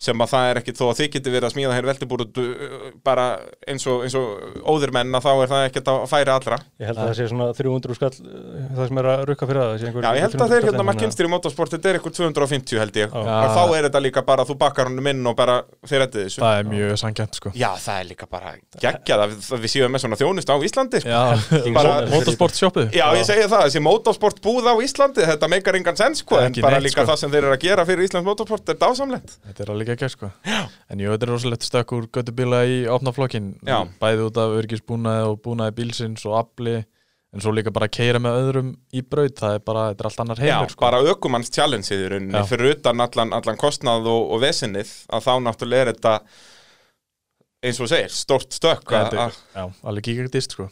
Speaker 1: sem að það er ekki, þó að þið geti verið að smíða hér veltibúrið uh, bara eins og, eins og óður menn að þá er það ekkert að færa allra.
Speaker 2: Ég held að það sé svona 300 skall uh, það sem er að rukka fyrir það. það. sé einhver-
Speaker 1: Já, ég held að
Speaker 2: 300
Speaker 1: þeir
Speaker 2: skall
Speaker 1: hérna
Speaker 2: innan,
Speaker 1: markinstir í motorsport, þetta er eitthvað 250 held ég,
Speaker 2: Já.
Speaker 1: og þá er þetta líka bara, þú bakkar honum inn og bara þeir reddið þessu.
Speaker 3: það er mjög sangjant sko.
Speaker 1: Já, það er líka bara geggjað að við- við séum með svona þjónust á Íslandi sko.
Speaker 3: Já,
Speaker 1: Bara-
Speaker 3: motorsport sjoppið
Speaker 1: Já, ég segi það, þessi motorsport búð á Íslandi þetta meikar engan sens, sko,
Speaker 3: Það er
Speaker 1: en
Speaker 3: ekki
Speaker 1: bara
Speaker 3: neitt,
Speaker 1: líka
Speaker 3: sko.
Speaker 1: það sem þeir eru að gera fyrir Íslands motorsport er dásamlegt
Speaker 3: Þetta er alveg ekki sko. En jú, þetta er rosalegt stökk úr göttubíla í opnaflokkin
Speaker 1: Já.
Speaker 3: Bæði út af örgisbúnaði og búnaði bílsins og afli En svo líka bara að keira með öðrum í braut Það er bara, þetta er allt annar
Speaker 1: Já,
Speaker 3: heimur sko.
Speaker 1: bara ökumanns challenge í rauninni
Speaker 3: Já.
Speaker 1: fyrir utan allan, allan kostnað og, og vesinnið að þá náttúrulega er þetta eins og þú segir, stórt stökk
Speaker 3: Þetta
Speaker 1: að-
Speaker 3: er-
Speaker 1: að-
Speaker 3: Já, alveg gigardist sko.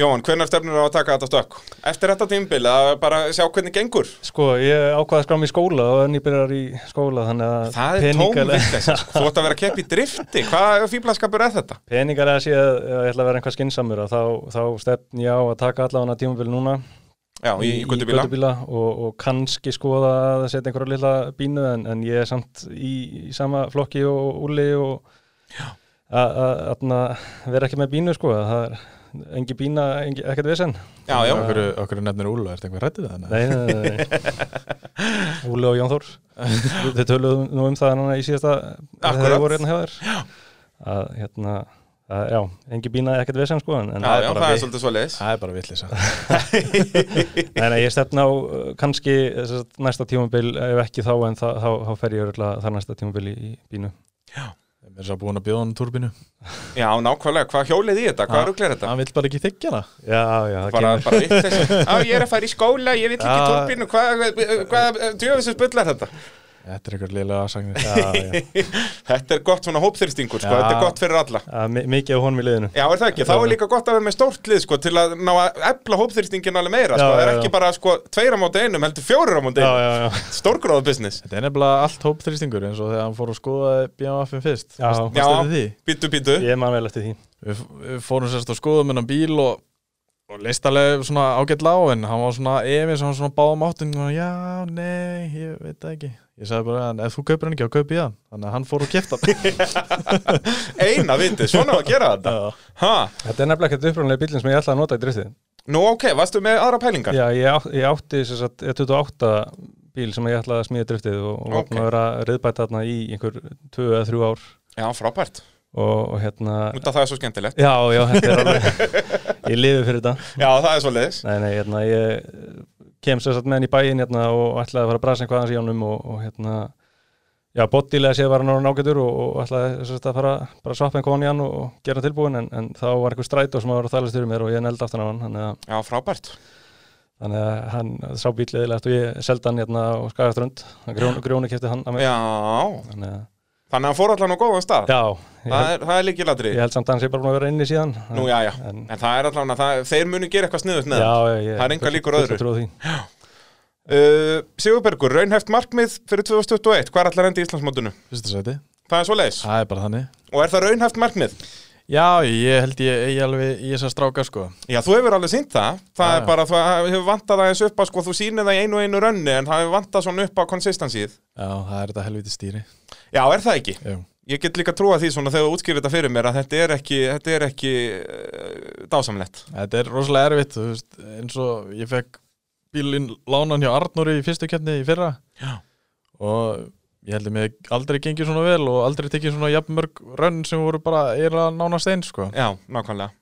Speaker 1: Jóhann, hvenær stefnir á að taka þetta stökk? Eftir þetta tímbil að bara sjá hvernig gengur
Speaker 2: Sko, ég ákvaði að skrá mig í skóla og enn ég byrjar í skóla, þannig að
Speaker 1: Það er
Speaker 2: peningalega-
Speaker 1: tómvillis, þú ætti að vera að keppa í drifti hvað fýblaskapur er þetta?
Speaker 2: peningar að sé að ef ég ætla að vera einhvað skinsamur að þá, þá stefn ég á að taka allavega tímabil núna
Speaker 1: Já, í, í, í göttubíla
Speaker 2: og, og kannski skoða að setja einhverja lilla bínu en, en ég er samt í, í sama flokki og úli og að- að að- að vera ekki með bínu sko það er engi bína, engi, ekkert vesen
Speaker 1: Já, já,
Speaker 3: Okkur, okkur nefnir Úlu, ertu eitthvað rættið það?
Speaker 2: Nei, nei, nei, nei. Úli og Jón Þór Þau töluðu nú um það hana í síðasta þegar
Speaker 1: Akkurat.
Speaker 2: þau voru hérna hjá þér að hérna, Uh, já, engi bínaði ekkert vesend sko en, en
Speaker 1: Já, já,
Speaker 2: bara
Speaker 1: það er
Speaker 2: vi-
Speaker 1: svolítið svo leiðis
Speaker 3: Það er bara villis
Speaker 2: Nei, nei, ég stefna á uh, kannski eh, sem sagt, næsta tímabil, ef ekki þá en þá, þá, þá fer ég örgulega þar næsta tímabil í, í bínu.
Speaker 3: Mér er svo búin að bjóða hann turbinu
Speaker 1: Já, nákvæmlega, hvað hjólið í þetta, hvað
Speaker 3: Já.
Speaker 1: eru glir þetta?
Speaker 3: Hann vill bara ekki þykja hana
Speaker 2: Já, já, það
Speaker 1: Bara,
Speaker 2: kemur.
Speaker 1: bara vitt þessi, á ég er að fara í skóla, ég vil ekki
Speaker 3: Já.
Speaker 1: turbinu, hvað, hvað, hvað djöfisins bullar þetta?
Speaker 3: Þetta er einhver liðlega aðsagnir
Speaker 2: Já, já.
Speaker 1: Þetta er gott svona hópþyrstingur, sko,
Speaker 3: Já.
Speaker 1: þetta er gott fyrir alla
Speaker 2: Uh, mi- Mikið á honum í liðinu.
Speaker 1: Já, er það ekki? Þá er líka gott að vera með stórt lið, sko, til að ná að efla hópþyrstingin alveg meira,
Speaker 2: Já,
Speaker 1: sko, það er
Speaker 2: já, já.
Speaker 1: ekki bara, sko, tveira á móti einum, heldur fjórir á móti
Speaker 2: Já,
Speaker 1: einum,
Speaker 2: já, já.
Speaker 1: stórgróða business
Speaker 3: Þetta er nefnilega allt hópþrýstingur eins og þegar hann fór að skoða BMF-in fyrst
Speaker 2: Já.
Speaker 3: Varstu- varstu
Speaker 1: Já,
Speaker 3: eftir því?
Speaker 1: bítu, bítu
Speaker 2: Ég man vel eftir því.
Speaker 3: við, við fórum sérst að skoða með hann bíl og, og leist alveg svona ágætt lág en hann var svona efins, hann var svona báðum áttin og já, nei, ég veit það ekki ég sagði bara, en ef þú kaupir hann ekki, þá kaupi ég hann þannig að hann fór og kefta hann
Speaker 1: Eina viti, svona á að gera þetta Ha,
Speaker 2: Þetta er nefnilega ekkert upprunalegi bílinn sem ég ætlaði að nota í driftið.
Speaker 1: nú ok, varstu með aðra pælingar?
Speaker 2: Já, ég, átt, ég átti sem sagt, ég 28 bíl sem ég ætlaði að smíða driftið og, og var
Speaker 1: Ok.
Speaker 2: búin að vera reyðbætt þarna í einhver 2 eða 3 ár
Speaker 1: Já, frábært,
Speaker 2: og, og hérna
Speaker 1: út af það er svo skemmtilegt
Speaker 2: Já, já, þetta er alveg ég lifi fyrir þetta
Speaker 1: Já, það er svo leiðis
Speaker 2: Nei, nei, hérna, ég kem sem sagt með hann í bæinn hérna, og ætlaði að fara að brasa eitthvað hans í honum og, og hérna, já, bottilega séð var hann orðinn ágætur og, og ætlaði sem sagt, að fara bara að svappa einhvern hann í hann og, og gera hann tilbúin en, en þá var einhver strætó sem var að þalast fyrir mér og ég neldi aftan á hann þannig að,
Speaker 1: Já, frábært
Speaker 2: þannig að hann sá bíliðilegt og ég seldi hann hérna á skagaströnd grjónu, grjónu kefti hann að mig
Speaker 1: Já,
Speaker 2: þannig að,
Speaker 1: þannig að hann fór allan á góðan stað
Speaker 2: já, ég
Speaker 1: Það
Speaker 2: held,
Speaker 1: er, það er líkilatri
Speaker 2: ég held samt að hann sé bara búin að vera inni síðan
Speaker 1: Nú, já, já,
Speaker 2: en,
Speaker 1: en það er allan að það, þeir munu gera eitthvað sniðut með
Speaker 2: já,
Speaker 1: það.
Speaker 2: ég,
Speaker 1: Það er engar líkur öðru.
Speaker 2: trúið því
Speaker 1: uh, Sigurbergur, raunheft markmið fyrir 2021 Hvað er allar endi í Íslandsmótinu?
Speaker 3: fyrsta sæti,
Speaker 1: Það er svo leiðis
Speaker 3: það er bara þannig
Speaker 1: Og er það raunheft markmið?
Speaker 3: Já, ég held ég eigi alveg í þessa stráka sko
Speaker 1: Já, þú hefur alveg sínt það Það
Speaker 3: Já,
Speaker 1: er
Speaker 3: já.
Speaker 1: bara, það hefur vantað aðeins upp að sko, þú sýnir það í einu og einu rönni en það hefur vantað svona upp á konsistansíð
Speaker 3: Já, það er þetta helviti stýri
Speaker 1: Já, er það ekki?
Speaker 3: Jú.
Speaker 1: Ég get líka trúa því svona þegar þú útskýrir þetta fyrir mér að þetta er ekki, þetta er ekki uh, dásamlegt
Speaker 3: Þetta er rosalega erfitt, þú veist, eins og ég fekk bílinn lánan hjá Arnóri í fyrstu keppni í fyrra
Speaker 1: Já.
Speaker 3: og ég heldur mig aldrei gengið svona vel og aldrei tekið svona jafnmörg rönn sem voru bara eira nánast eins sko.
Speaker 1: Já, nákvæmlega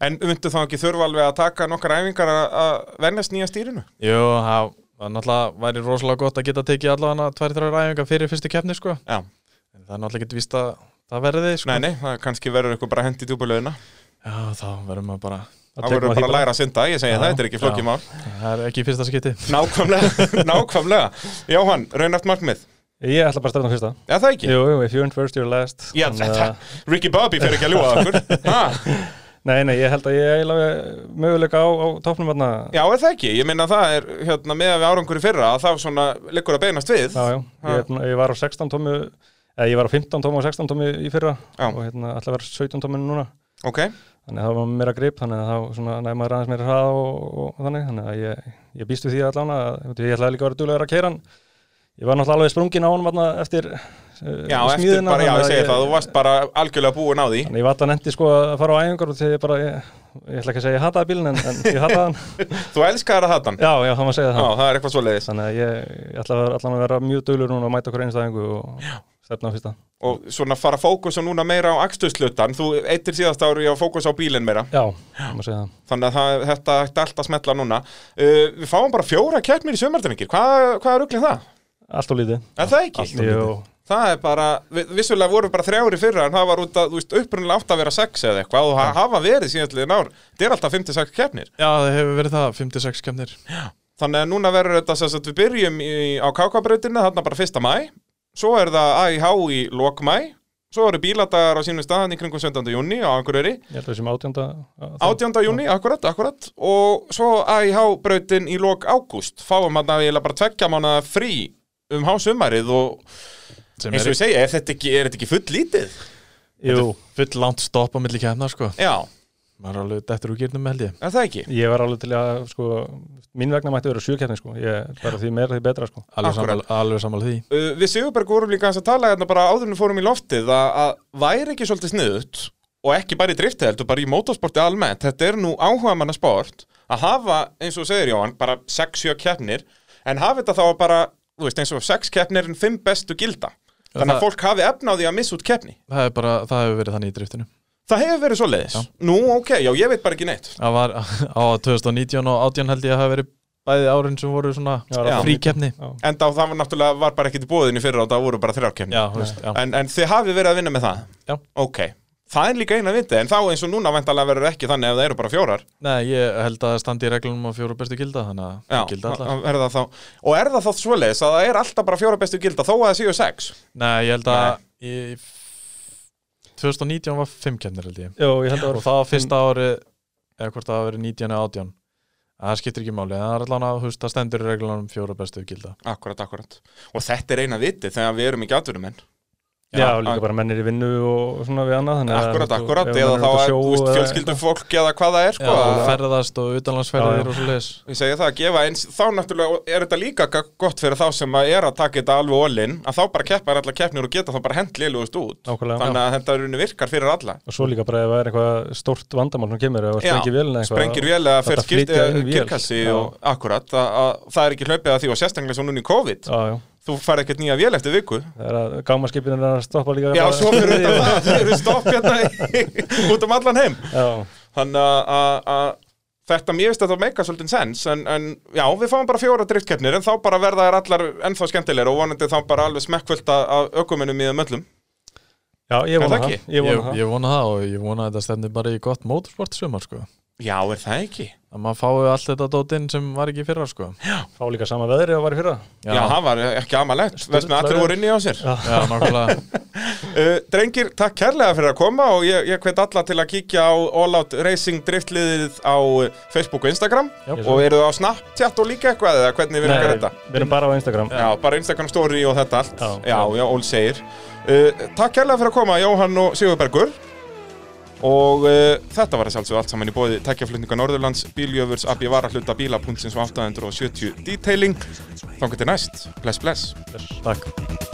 Speaker 1: En myndu þá ekki þurfa alveg að taka nokkar æfingar að- að vennast nýja stýrinu?
Speaker 3: Jú, það það náttúrulega væri rosalega gott að geta tekið allavega tvær, þrjár æfingar fyrir fyrstu keppni sko.
Speaker 1: Já.
Speaker 3: En það er náttúrulega ekki víst að það verði sko.
Speaker 1: Nei, nei, það kannski verður eitthvað bara hendi djúbulöðina
Speaker 3: Já, þá verður maður bara,
Speaker 1: Það verður bara að læra að synda, ég segi
Speaker 3: Já,
Speaker 1: það, þetta er ekki flókið
Speaker 3: já.
Speaker 1: mál
Speaker 3: það er ekki í fyrsta skipti.
Speaker 1: Nákvæmlega, nákvæmlega Jóhann, raunart markmið,
Speaker 2: Ég ætla bara að stefna á fyrsta
Speaker 1: er það ekki?
Speaker 2: Jú, jú, if you're in first, you're last
Speaker 1: Já,
Speaker 2: Þannig
Speaker 1: þetta,
Speaker 2: að-
Speaker 1: Ricky Bobby fyrir ekki að ljúa okkur ha,
Speaker 2: Nei, nei, ég held að ég eiginlega möguleika á, á topnum hérna
Speaker 1: Já, er það ekki? Ég minna það er hérna með að við árangur í fyrra að þá svona liggur að beinast við
Speaker 2: Já, já, ég, er búinn að- ég var á 16 tómu eða ég var á 15 tómu og 16 tómu í fyrra
Speaker 1: Já.
Speaker 2: og hérna ætla að vera 17 tómu núna
Speaker 1: Ok,
Speaker 2: þannig að það var meira grip, þannig að þá svona næði maður aðeins meira hrað og, og þannig þannig að ég, ég býst við því allan að þú veit, ég ætlaði líka að vera duglegur að keira hann ég var náttúrulega alveg sprungin á honum hérna eftir uh,
Speaker 1: já, eftir bara, já, ég segi það, þú varst bara algjörlega búin á því
Speaker 2: Þannig að ég vata nefndi sko að fara á æfingar og þegar ég bara, ég, ég ætla ekki að segja ég hataði bílinn en, en ég hataði hann.
Speaker 1: Þú elskar að hatan Já,
Speaker 2: Já, já, það maður segja það.
Speaker 1: það er eitthvað svo leiðis
Speaker 2: Þannig að ég, ég ætla að vera- allan að vera mjög dölur núna og mæta okkur einstæðingu og stefna á fyrsta.
Speaker 1: Og svona fara fókus og núna meira á akstuslutan Þú eittir síðast ári á fókus á bílinn meira
Speaker 2: Já, það maður segja það.
Speaker 1: Þannig að það, þetta ætti allt að smetla núna uh, Við fáum bara fjóra kjærnir í sömardrengir Hvað, hvað er uglið það?
Speaker 2: Allt og lítið.
Speaker 1: Er það ekki?
Speaker 2: Jú,
Speaker 1: Það er bara, við- vissulega voru bara þrjári fyrra en það var út að, þú veist, upprunnilega átt að vera sex eða eitthvað og það hafa verið síðanlega ár, þetta er alltaf 5-6 keppnir.
Speaker 3: Já, það hefur verið það, 56 keppnir.
Speaker 1: Þannig að núna verður þetta sem sagt við byrjum í, á kákabrautinni, þarna bara 1. mæ, svo er það AIH í lok mæ, svo eru bíladagar á sínum staðan í kringum 17. júni á Akureyri,
Speaker 2: ég held að við séum átjönda. að-
Speaker 1: 18. júni, akkurat, akkurat, og svo AIH brautin í lok ágúst, fáum hann að bara tveggja mánuða frí um hásumarið og
Speaker 3: Sem
Speaker 1: eins og
Speaker 3: er
Speaker 1: ég segja, er þetta ekki, er þetta ekki full lítið?
Speaker 2: Jú,
Speaker 3: full langt stopp á milli keppna sko.
Speaker 1: Já,
Speaker 3: Maður er alveg dettur úr gýrnum held ég.
Speaker 1: er það ekki?
Speaker 2: ég var alveg til að, sko, mín vegna mætti vera sjökeppni, sko. Ég, bara því meira því betra, sko.
Speaker 3: Alveg
Speaker 1: Akkurat.
Speaker 3: sammála- Alveg sammála því.
Speaker 1: Uh, við Sigurberg vorum líka aðeins að tala hérna bara áður en við fórum í loftið að, að væri ekki svolítið sniðut og ekki bara í driftið heldur bara í motorsporti almennt þetta er nú áhuga manna sport að hafa eins og þú segir Jóhann bara 6-7 keppnir en hafa þetta þá bara þú veist eins og 6 keppnir en 5 bestu gilda þannig að
Speaker 3: það-
Speaker 1: fólk hafi efna á því að missa út keppni
Speaker 3: Það, er bara, það hefur verið þannig í driftinu
Speaker 1: Það hefur verið svo leiðis. Nú, ok, já, ég veit bara ekki neitt.
Speaker 3: Það var á 2019 og 18 held ég að hafa verið bæði árin sem voru svona
Speaker 2: Já, það var
Speaker 3: fríkeppni
Speaker 1: En þá það var náttúrulega, var bara ekkit í bóðinu fyrir á það voru bara þrjárkefni.
Speaker 3: Já, þú veist, já.
Speaker 1: En, en þið hafið verið að vinna með það?
Speaker 3: Já.
Speaker 1: Ok, það er líka eina vindi, en þá eins og núna væntalega verður ekki þannig ef það eru bara fjórar.
Speaker 3: Nei, ég held að það standi í reglunum á fjóru bestu gilda þannig að það gilda allar
Speaker 1: er það þá, og er það þá svoleiðis að það er alltaf bara fjóra bestu gilda þó að það séu sex?
Speaker 3: Nei, ég held að í 2019 var fimm keppnir held ég
Speaker 2: Jó, ég held að
Speaker 3: og
Speaker 2: voru
Speaker 3: það var fyrsta ári eða hvort það var verið 19 eða 18 En það skiptir ekki máli, en það er allan að þú veist, það stendur í reglunum fjóru bestu gilda
Speaker 1: Akkurat, akkurat. Og þetta er eina viti þegar við erum ekki atvinnumenn.
Speaker 2: Já,
Speaker 3: Já,
Speaker 2: líka
Speaker 1: ak-
Speaker 2: bara mennir í vinnu og svona við annað þannig að-
Speaker 1: Akkurat,
Speaker 2: þú-
Speaker 1: akkurat, eða
Speaker 2: ef menn eru
Speaker 1: þá
Speaker 2: út að
Speaker 1: að,
Speaker 2: sjó
Speaker 1: þú veist,
Speaker 2: eða-
Speaker 1: fjölskyldum fólk eða hvað það er,
Speaker 3: Já,
Speaker 1: sko. að-
Speaker 3: ferðast og
Speaker 2: Já, já.
Speaker 3: utanlandsferðir og svo leiðis
Speaker 1: Ég segi það að gefa eins, þá náttúrulega er þetta líka ga- gott fyrir þá sem að er að taka þetta alveg ólinn, að þá bara keppar allar keppnir og geta þá bara hend liðlugust út.
Speaker 2: Nákvæmlega.
Speaker 1: Þannig að þetta er unni virkar fyrir alla.
Speaker 2: Og svo líka bara ef það er eitthvað stórt vandamál sem kemur eða sprengir vélina eitthvað
Speaker 1: sprengir vél eða fyrir
Speaker 2: Þetta flytja inn vél.
Speaker 1: kirkassi
Speaker 2: Já.
Speaker 1: og akkurat, að, að það er ekki hlaupið að því og sérstaklega svo núna í COVID.
Speaker 2: Já, já,
Speaker 1: Þú fær ekkert nýja vél eftir viku.
Speaker 2: það er að gámaskipin er að stoppa líka
Speaker 1: Já,
Speaker 2: bara-
Speaker 1: svo fyrir þetta það, þau eru stopp hérna í- út um allan heim.
Speaker 2: Já,
Speaker 1: Þannig að- að að þetta, mér finnst þetta meika svolítið sens en, en já, við fáum bara fjóra driftkeppnir en þá bara verða þær allar ennþá skemmtilegur og vonandi þá bara alveg smekkvöld af ökuminum í þeim öllum.
Speaker 2: já, ég
Speaker 1: Er
Speaker 2: vona
Speaker 1: það
Speaker 2: það
Speaker 1: ekki?
Speaker 2: Ég vona
Speaker 3: ég,
Speaker 2: það
Speaker 3: ég vona það og ég vona að þetta stendur bara í gott motorsport sumar sko
Speaker 1: Já, er það ekki?
Speaker 3: að maður fái allt þetta dótinn sem var ekki í fyrra sko já,
Speaker 2: Fá líka sama veðri að var í fyrra
Speaker 1: Já, það var ekki amalegt, veist með allir
Speaker 2: Sturlaður.
Speaker 1: voru inni á sér.
Speaker 3: já nákvæmlega
Speaker 1: Uh, drengir, takk kærlega fyrir að koma og ég, ég hvet alla til að kíkja á All Out Racing driftliðið á eh, Facebook og Instagram
Speaker 3: Já.
Speaker 1: og eru það á Snapchat og líka eitthvað eða hvernig virkar þetta?
Speaker 2: við erum bara á Instagram
Speaker 1: Já, bara Instagram story og þetta allt
Speaker 2: Já.
Speaker 1: Já, já, Ól segir uh, Takk kærlega fyrir að koma, Jóhann og Sigurbergur Og uh, þetta var þess alveg allt saman í bóði Tækjaflutninga Norðurlands, Bíljöfurs, Abbi Varahluta, Bíla.sins og 870 Detailing Þangar til næst, bless bless
Speaker 2: Takk